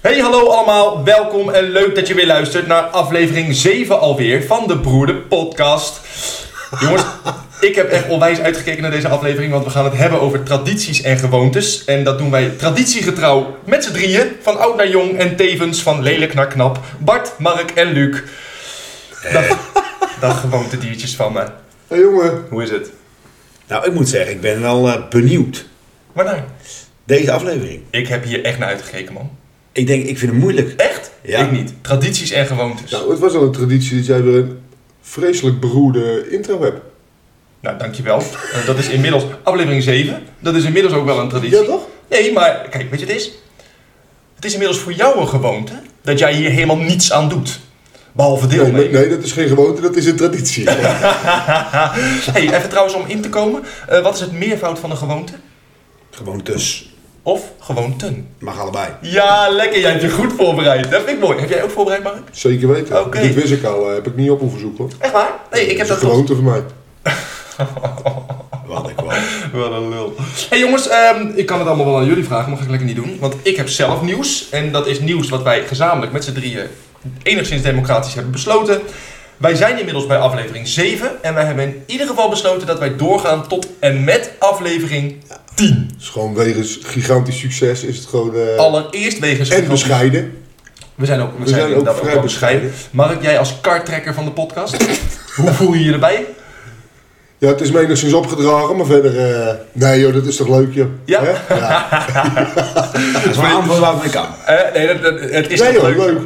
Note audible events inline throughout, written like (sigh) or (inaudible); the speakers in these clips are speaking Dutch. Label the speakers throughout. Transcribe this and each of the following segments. Speaker 1: Hey, hallo allemaal. Welkom en leuk dat je weer luistert naar aflevering 7 alweer van de Broeder Podcast. (laughs) Jongens, ik heb echt onwijs uitgekeken naar deze aflevering, want we gaan het hebben over tradities en gewoontes. En dat doen wij traditiegetrouw met z'n drieën, van oud naar jong en tevens van lelijk naar knap. Bart, Mark en Luc. Dat, dat gewoonte diertjes van me.
Speaker 2: Hé jongen,
Speaker 1: Hoe is het?
Speaker 3: Nou, ik moet zeggen, ik ben wel eh, benieuwd.
Speaker 1: Waarnaar?
Speaker 3: Deze aflevering.
Speaker 1: Ik heb hier echt naar uitgekeken, man.
Speaker 3: Ik denk, ik vind het moeilijk.
Speaker 1: Echt?
Speaker 3: Ja.
Speaker 1: Ik niet. Tradities en gewoontes.
Speaker 2: nou, het was al een traditie dat jij weer een vreselijk beroerde intro hebt.
Speaker 1: Nou, dankjewel. Eh, dat is inmiddels aflevering 7. Dat is inmiddels ook wel een traditie.
Speaker 2: Ja toch?
Speaker 1: Nee, maar kijk, weet je wat het is? Het is inmiddels voor jou een gewoonte dat jij hier helemaal niets aan doet. Behalve
Speaker 2: Nee,
Speaker 1: deelnemen.
Speaker 2: nee, nee, dat is geen gewoonte, dat is een traditie.
Speaker 1: hey, even trouwens om in te komen. eh, wat is het meervoud van een gewoonte?
Speaker 3: Gewoon dus.
Speaker 1: Of gewoonten?
Speaker 3: Mag allebei.
Speaker 1: Ja, lekker. Jij hebt je goed voorbereid. Dat vind ik mooi. Heb jij ook voorbereid, Mark?
Speaker 2: (laughs) Zeker weten.
Speaker 1: Oké.
Speaker 2: Dit wist ik al, eh, heb ik niet op hoeven zoeken.
Speaker 1: Echt waar? Nee, ik heb
Speaker 2: dat
Speaker 1: dat
Speaker 2: is een
Speaker 1: gewoon.
Speaker 2: gewoonte van mij.
Speaker 3: Wat ik wel.
Speaker 1: (laughs) Wat een lul. hey jongens, ehm, ik kan het allemaal wel aan jullie vragen, maar ga ik lekker niet doen. Want ik heb zelf nieuws. En dat is nieuws wat wij gezamenlijk met z'n drieën enigszins democratisch hebben besloten. Wij zijn inmiddels bij aflevering 7. En wij hebben in ieder geval besloten dat wij doorgaan tot en met aflevering 10.
Speaker 2: Het is gewoon wegens gigantisch succes is het gewoon... eh,
Speaker 1: Allereerst wegens...
Speaker 2: en bescheiden.
Speaker 1: We zijn ook, we
Speaker 2: We
Speaker 1: zijn
Speaker 2: zijn ook
Speaker 1: inderdaad
Speaker 2: vrij
Speaker 1: wel bescheiden. Mark, jij als kartrekker van de podcast, (laughs) hoe voel je je erbij?
Speaker 2: Ja, het is me enigszins opgedragen, maar verder... eh, nee joh, dat is toch leuk joh?
Speaker 1: Ja. (laughs)
Speaker 2: Hè? ja.
Speaker 3: Dat is maar antwoord waar ik mee kan.
Speaker 1: Eh, nee, dat, dat- het is
Speaker 2: Nee
Speaker 1: toch
Speaker 2: joh, leuk.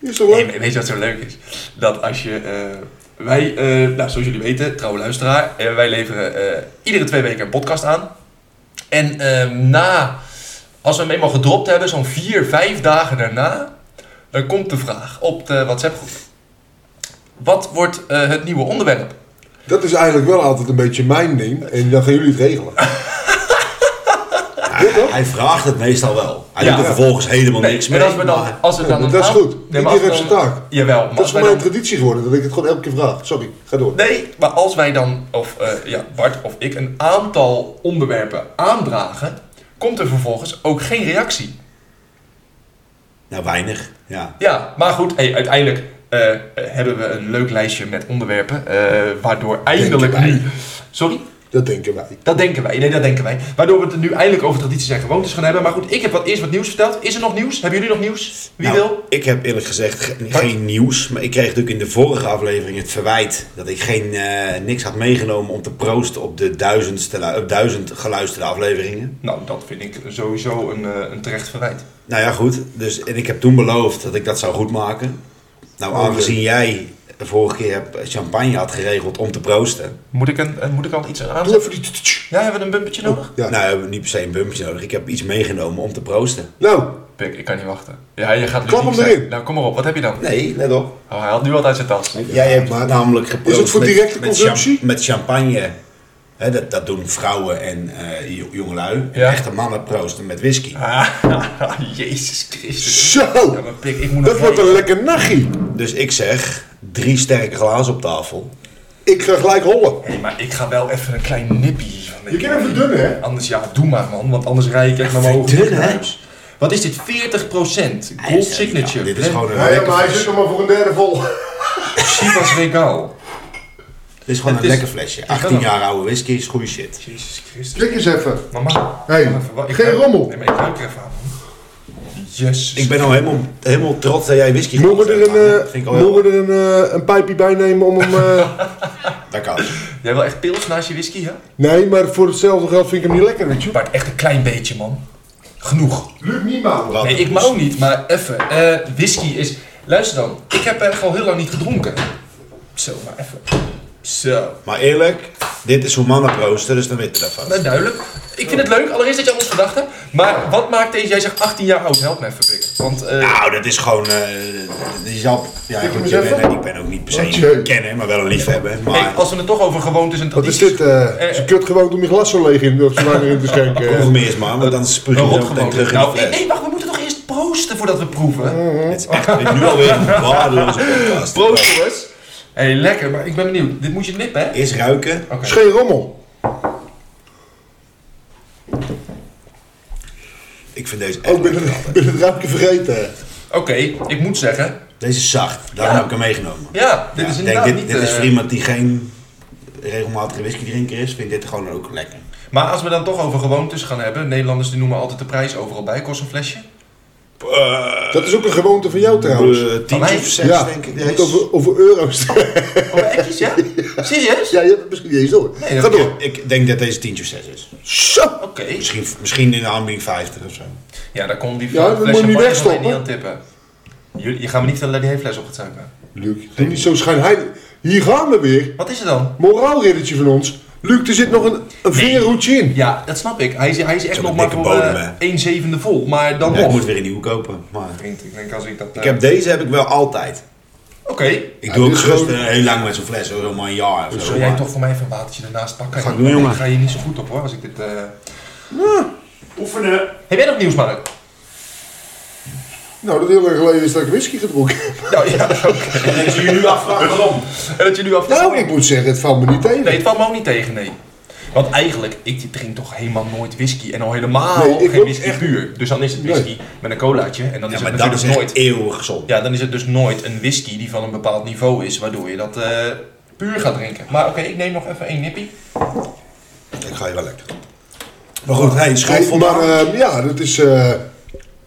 Speaker 2: Is toch
Speaker 1: Nee,
Speaker 2: leuk?
Speaker 1: maar weet je wat zo leuk is? Dat als je. eh, wij, eh, nou, zoals jullie weten, trouwe luisteraar, eh, wij leveren eh, iedere twee weken een podcast aan. En eh, na, als we hem eenmaal gedropt hebben, zo'n vier, vijf dagen daarna, dan komt de vraag op de WhatsApp-groep: Wat wordt eh, het nieuwe onderwerp?
Speaker 2: Dat is eigenlijk wel altijd een beetje mijn ding. En dan gaan jullie het
Speaker 1: (laughs)
Speaker 2: regelen.
Speaker 3: Hij, hij vraagt het meestal wel. Hij
Speaker 1: Ja.
Speaker 3: doet er vervolgens helemaal
Speaker 1: Nee,
Speaker 3: niks
Speaker 1: maar
Speaker 3: mee.
Speaker 1: als we dan,
Speaker 3: maar-
Speaker 1: als we
Speaker 2: Ja,
Speaker 1: dan
Speaker 2: maar
Speaker 1: een
Speaker 2: (laughs) dat is
Speaker 1: aan-
Speaker 2: goed.
Speaker 1: Nee, maar
Speaker 2: Iedereen
Speaker 1: als
Speaker 2: heeft
Speaker 1: dan-
Speaker 2: zijn taak.
Speaker 1: Jawel, maar
Speaker 2: Dat is
Speaker 1: als
Speaker 2: voor
Speaker 1: wij
Speaker 2: mij een
Speaker 1: dan
Speaker 2: traditie geworden, dat ik het gewoon elke keer vraag. Sorry, ga door.
Speaker 1: Nee, maar als wij dan, of eh, ja, Bart of ik, een aantal onderwerpen aandragen, komt er vervolgens ook geen reactie.
Speaker 3: Nou, weinig. Ja.
Speaker 1: Ja, maar goed, hey, uiteindelijk eh, eh, hebben we een leuk lijstje met onderwerpen, eh, waardoor eindelijk
Speaker 2: Denken wij.
Speaker 1: nu... Sorry?
Speaker 2: Dat denken wij.
Speaker 1: Dat denken wij, nee, dat denken wij. Waardoor we het nu eindelijk over tradities en gewoontes gaan hebben. Maar goed, ik heb wat, eerst wat nieuws verteld. Is er nog nieuws? Hebben jullie nog nieuws? Wie
Speaker 3: Nou,
Speaker 1: wil?
Speaker 3: Ik heb eerlijk gezegd ge- geen nieuws. Maar ik kreeg natuurlijk in de vorige aflevering het verwijt dat ik geen, eh, niks had meegenomen om te proosten op de duizendste, lu- op duizend geluisterde afleveringen.
Speaker 1: Nou, dat vind ik sowieso een, eh, een terecht verwijt.
Speaker 3: Nou ja, goed. Dus, en ik heb toen beloofd dat ik dat zou goedmaken. Nou,
Speaker 2: Oké.
Speaker 3: aangezien jij de vorige keer hebt- champagne had geregeld om te proosten.
Speaker 1: Moet ik, een, eh, moet ik al iets Oh. aan?
Speaker 2: Doe even die... tch, tch.
Speaker 1: Ja, hebben we een bumpertje nodig?
Speaker 2: Ja.
Speaker 3: Nou, we hebben niet per se een bumpje nodig. Ik heb iets meegenomen om te proosten.
Speaker 2: Nou,
Speaker 1: Pik, ik kan niet wachten. Ja, je gaat
Speaker 2: Klap hem
Speaker 1: ludiek zijn.
Speaker 2: erin.
Speaker 1: Nou, kom maar op. Wat heb je dan?
Speaker 3: Nee, let op.
Speaker 1: Oh, hij haalt nu wat uit zijn tas.
Speaker 3: Jij hebt
Speaker 2: maar-
Speaker 3: namelijk geproost
Speaker 2: Is het voor
Speaker 3: met-
Speaker 2: directe
Speaker 3: met
Speaker 2: consumptie?
Speaker 3: cham- Met champagne. Hè, dat, dat doen vrouwen en eh, jo- jongelui.
Speaker 1: Ja.
Speaker 3: Echte mannen proosten met whisky.
Speaker 1: Ah, (laughs) Jezus Christus.
Speaker 2: zo!
Speaker 1: Ja, maar pik, ik moet
Speaker 2: Dat
Speaker 1: nog
Speaker 2: wordt een lekker nachtje.
Speaker 3: Dus ik zeg, drie sterke glazen op tafel.
Speaker 2: Ik ga gelijk hollen.
Speaker 1: Nee, maar ik ga wel even een klein nippie van
Speaker 2: Je kan hem verdunnen, hè?
Speaker 1: Anders, ja, doe maar man, want anders rij ik echt naar mijn hoge
Speaker 3: Verdunnen, hè?
Speaker 1: huis. Wat is dit? 40% Gold Signature.
Speaker 3: dit is gewoon een
Speaker 2: Ja, ja,
Speaker 3: lekker
Speaker 2: maar hij zit
Speaker 3: flesje.
Speaker 2: nog maar voor een derde vol.
Speaker 1: Chivas Regal.
Speaker 3: Dit is gewoon
Speaker 1: Het
Speaker 3: een
Speaker 1: is-
Speaker 3: lekker flesje. 18 jaar oude whisky is goede shit.
Speaker 1: Jezus Christus.
Speaker 2: Klik eens even.
Speaker 1: Mama.
Speaker 2: Hey,
Speaker 1: mama, verwa- ik
Speaker 2: geen
Speaker 1: ruik-
Speaker 2: rommel.
Speaker 1: Nee, maar ik ruik er even aan. man. Jezus.
Speaker 3: Ik ben al helemaal, helemaal trots dat jij whisky
Speaker 2: Mogen we er
Speaker 3: gekocht hebt,
Speaker 2: een,
Speaker 3: man.
Speaker 2: eh,
Speaker 3: Vind ik al heel-
Speaker 2: mogen we er een, eh, een pijpje bij nemen om hem... eh,
Speaker 3: Dat kan.
Speaker 1: Jij wil echt pils naast je whisky, hè?
Speaker 2: Nee, maar voor hetzelfde geld vind ik hem niet lekker, weet je.
Speaker 1: Bart, echt een klein beetje, man. Genoeg.
Speaker 2: Luc niet mouwen.
Speaker 3: Wat? dus.
Speaker 1: Nee, ik mouw niet, maar even. Eh, whisky is. Luister dan, ik heb echt al heel lang niet gedronken. Zo, maar even. Zo.
Speaker 3: Maar eerlijk, dit is hoe mannen proosten, dus dan weet je dat vast.
Speaker 1: Nou, duidelijk. Ik vind het leuk, allereerst dat je aan ons gedacht hebt. Maar wat maakt deze, jij zegt 18 jaar oud, help me even, Pik. Want, eh,
Speaker 3: Nou, dat is gewoon. eh dat is al, ja,
Speaker 2: hem
Speaker 3: goed,
Speaker 2: eens
Speaker 3: je
Speaker 2: even?
Speaker 3: bent- ik ben ook niet per se
Speaker 2: Oh, jee.
Speaker 3: een kenner, maar wel een liefhebber. Maar
Speaker 1: hey, als we het toch over gewoontes en
Speaker 2: Wat is
Speaker 1: tradities...
Speaker 2: dit? eh het is een kut gewoon om je glas zo leeg in, of zo weinig in te
Speaker 3: (laughs)
Speaker 2: schenken.
Speaker 3: proef
Speaker 2: eh.
Speaker 3: me eerst maar, want dan spuug
Speaker 1: Een
Speaker 3: je zo meteen
Speaker 1: rotgewoonte.
Speaker 3: terug in de
Speaker 1: Nou, nee,
Speaker 3: fles.
Speaker 1: nee, wacht, we moeten toch eerst proosten voordat we proeven?
Speaker 3: Het is echt weer- nu alweer een waardeloze podcast.
Speaker 1: Proosten, Oh, jongens. Hé, hey, lekker, maar ik ben benieuwd. Dit moet je nippen, hè?
Speaker 3: Eerst ruiken.
Speaker 1: Oké.
Speaker 2: is geen rommel.
Speaker 3: Ik vind deze echt
Speaker 2: Ook binnen, binnen het raampje vergeten.
Speaker 1: Oké, ik moet zeggen.
Speaker 3: Deze is zacht. Daarom
Speaker 1: Ja.
Speaker 3: heb ik hem meegenomen.
Speaker 1: Ja, dit
Speaker 3: Ja,
Speaker 1: is
Speaker 3: ik denk,
Speaker 1: inderdaad
Speaker 3: dit,
Speaker 1: niet...
Speaker 3: dit is
Speaker 1: eh,
Speaker 3: voor iemand die geen regelmatige whiskydrinker is, vindt dit gewoon ook lekker.
Speaker 1: Maar als we dan toch over gewoontes gaan hebben. Nederlanders die noemen altijd de prijs overal bij. Kost een flesje.
Speaker 2: Dat is ook een gewoonte van jou trouwens.
Speaker 3: Eh,
Speaker 1: Van
Speaker 3: tien
Speaker 1: mij?
Speaker 3: of zes,
Speaker 2: ja,
Speaker 3: denk ik.
Speaker 2: je moet over, over euro's. (laughs)
Speaker 1: Over ekjes, Oh, ja? Serieus?
Speaker 2: ja, je hebt het misschien niet eens door.
Speaker 1: Nee, dat
Speaker 2: Ga door.
Speaker 3: Ik denk dat deze tientje of zes is.
Speaker 2: Zo!
Speaker 1: Oké.
Speaker 3: Misschien, misschien in de aanbieding 50
Speaker 1: Oh,
Speaker 3: of zo.
Speaker 1: Ja, daar kon die
Speaker 2: Ja, dat
Speaker 1: flesje
Speaker 2: moet je niet
Speaker 1: Martens
Speaker 2: wegstoppen.
Speaker 1: alleen niet aan tippen. Jullie, je gaat me niet vertellen dat die hele fles op gaat zuipen.
Speaker 2: Luc, doe niet zo schijnheilig. Hier gaan we weer.
Speaker 1: Wat is het dan?
Speaker 2: Moraalriddertje van ons. Luc, er zit nog een, een veerroetje in.
Speaker 1: Ja, dat snap ik. Hij is, hij is echt
Speaker 3: Zo'n
Speaker 1: nog maar
Speaker 3: dikke
Speaker 1: voor
Speaker 3: bodem,
Speaker 1: eh,
Speaker 3: hè?
Speaker 1: 1 zevende vol. Maar dan
Speaker 3: Ja, ik
Speaker 1: nog.
Speaker 3: moet weer een nieuwe kopen. Maar
Speaker 1: Vriend, ik denk als ik dat... eh,
Speaker 3: ik heb deze heb ik wel altijd.
Speaker 1: Oké.
Speaker 3: Ik
Speaker 2: Ja,
Speaker 3: doe
Speaker 2: dit
Speaker 3: ook
Speaker 2: is
Speaker 3: gerust
Speaker 2: gewoon-
Speaker 3: eh, heel lang met zo'n fles, hoor, maar een jaar of zo.
Speaker 1: Zou jij
Speaker 3: maar-
Speaker 1: toch voor mij even een watertje ernaast pakken?
Speaker 3: Ga ik doen, jongen.
Speaker 1: Ik ga hier niet zo goed op hoor, als ik dit... eh
Speaker 3: Eh,
Speaker 1: Oefenen. Heb jij nog nieuws, Mark?
Speaker 2: Nou, dat heel erg geleden is dat ik whisky gedronken heb.
Speaker 1: (laughs) Nou ja, oké.
Speaker 3: En dat jullie nu afvragen waarom.
Speaker 1: En dat je nu af...
Speaker 2: Nou, ik moet zeggen, het valt me niet tegen.
Speaker 1: Nee, het valt me ook niet tegen, nee. Want eigenlijk, ik drink toch helemaal nooit whisky. En al helemaal
Speaker 2: Nee, ik
Speaker 1: geen
Speaker 2: ook
Speaker 1: whisky
Speaker 2: echt-
Speaker 1: puur. Dus dan is het whisky
Speaker 2: Nee.
Speaker 1: met een colaatje. En dan
Speaker 3: Ja,
Speaker 1: is
Speaker 3: maar
Speaker 1: het
Speaker 3: dat is e-
Speaker 1: natuurlijk
Speaker 3: echt
Speaker 1: nooit...
Speaker 3: eeuwig gezond.
Speaker 1: Ja, dan is het dus nooit een whisky die van een bepaald niveau is, waardoor je dat eh, puur gaat drinken. Maar oké, ik neem nog even één nippie.
Speaker 3: Ik ga je wel lekker. Maar goed, hey, schuld
Speaker 2: Hey, maar
Speaker 3: voldaan.
Speaker 2: eh, ja, dat is eh,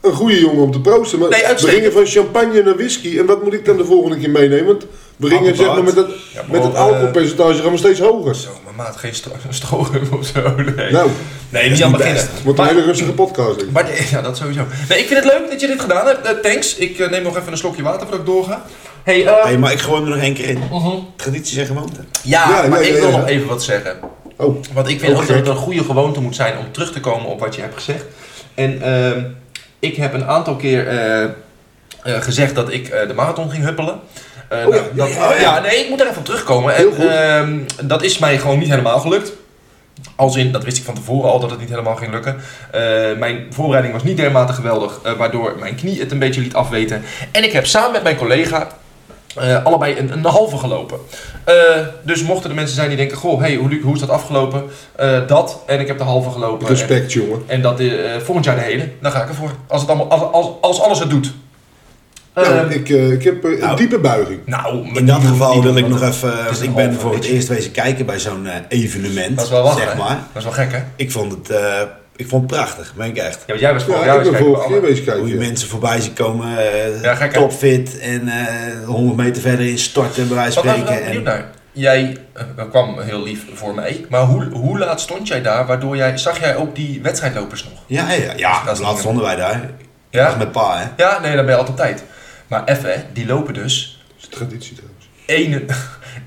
Speaker 2: een goede jongen om te proosten. Maar
Speaker 1: Nee,
Speaker 2: we
Speaker 1: uitstekend.
Speaker 2: gingen van champagne naar whisky. En wat moet ik dan de volgende keer meenemen? Want we gingen zeg maar, eh, met, dat,
Speaker 1: Ja,
Speaker 2: met het
Speaker 1: maar,
Speaker 2: alcoholpercentage gaan we steeds hoger.
Speaker 1: Zo, mijn maat, geen stro strohum of zo. Nee,
Speaker 2: Nou,
Speaker 1: nee
Speaker 3: is
Speaker 1: niet aan
Speaker 3: niet
Speaker 1: beginnen.
Speaker 3: best.
Speaker 2: het wordt een
Speaker 1: Maar,
Speaker 2: hele rustige podcast. denk ik.
Speaker 1: maar de- ja, dat sowieso. Nee, ik vind het leuk dat je dit gedaan hebt. Eh, thanks. Ik eh, neem nog even een slokje water voordat ik doorga. Hey, eh,
Speaker 3: Hey, maar ik gooi hem er nog één keer in.
Speaker 1: mhm.
Speaker 3: Tradities en gewoonten.
Speaker 1: ja,
Speaker 2: Ja,
Speaker 1: maar
Speaker 2: ja,
Speaker 1: ik
Speaker 2: ja,
Speaker 1: wil
Speaker 2: ja.
Speaker 1: nog even wat zeggen.
Speaker 2: Oh,
Speaker 1: Want ik vind
Speaker 2: Ook
Speaker 1: ook dat
Speaker 2: gek.
Speaker 1: het een goede gewoonte moet zijn om terug te komen op wat je hebt gezegd. En ehm, ik heb een aantal keer eh, eh, gezegd dat ik eh, de marathon ging huppelen. Eh,
Speaker 2: Oh ja,
Speaker 1: nou,
Speaker 2: ja,
Speaker 1: dat-
Speaker 2: ja, ja.
Speaker 1: nee, ik moet daar even op terugkomen.
Speaker 2: Heel
Speaker 1: En,
Speaker 2: goed.
Speaker 1: ehm, dat is mij gewoon niet helemaal gelukt. Als in, dat wist ik van tevoren al dat het niet helemaal ging lukken. Eh, mijn voorbereiding was niet dermate geweldig, eh, waardoor mijn knie het een beetje liet afweten. En ik heb samen met mijn collega eh, allebei een, een halve gelopen. Eh, dus mochten er mensen zijn die denken: Goh, hey, hoe, hoe is dat afgelopen? Eh, dat en ik heb de halve gelopen.
Speaker 3: Dus
Speaker 2: respect jongen.
Speaker 1: En, en dat eh, volgend jaar de hele. Dan ga ik ervoor. Als, het allemaal, als, als, als alles het doet.
Speaker 2: Nou,
Speaker 1: Ehm,
Speaker 2: ik, eh, ik heb eh, een
Speaker 3: nou,
Speaker 2: diepe buiging.
Speaker 1: nou,
Speaker 3: In dat
Speaker 1: die- die-
Speaker 3: geval wil
Speaker 1: die-
Speaker 3: ik nog even,
Speaker 1: is
Speaker 3: want
Speaker 1: een
Speaker 3: ik ben
Speaker 1: halve,
Speaker 3: voor het
Speaker 1: weet je.
Speaker 3: eerst wezen kijken bij zo'n eh, evenement,
Speaker 1: Dat is wel lachen,
Speaker 3: zeg
Speaker 1: hè?
Speaker 3: maar.
Speaker 1: Dat is wel gek, hè? Ja,
Speaker 3: Ik vond het, eh, ik vond het prachtig, meen ik echt.
Speaker 1: want jij was vorig
Speaker 2: Ja,
Speaker 1: jaar
Speaker 2: ik ben
Speaker 1: eens kijken
Speaker 2: vorige
Speaker 1: bij
Speaker 2: keer
Speaker 1: alle-
Speaker 2: bezig
Speaker 3: Hoe je
Speaker 2: kijken.
Speaker 3: mensen voorbij ziet komen, eh,
Speaker 1: Ja, gek, hè?
Speaker 3: topfit en eh 100 meter verder in storten, bij wijze
Speaker 1: Wat
Speaker 3: van
Speaker 1: was ik wel
Speaker 3: spreken.
Speaker 1: benieuwd
Speaker 3: En,
Speaker 1: naar? Jij eh, kwam heel lief voor mij, maar hoe, hoe laat stond jij daar? Waardoor jij, zag jij ook die wedstrijdlopers nog?
Speaker 3: ja, ja, ja, ja,
Speaker 1: Dat is
Speaker 3: laatst
Speaker 1: niet-
Speaker 3: stonden wij daar.
Speaker 1: Ja?
Speaker 3: Echt met pa, hè.
Speaker 1: Ja, nee, dan ben je altijd op tijd. Maar even, hè, die lopen dus
Speaker 2: Dat is traditie trouwens.
Speaker 1: (laughs) 1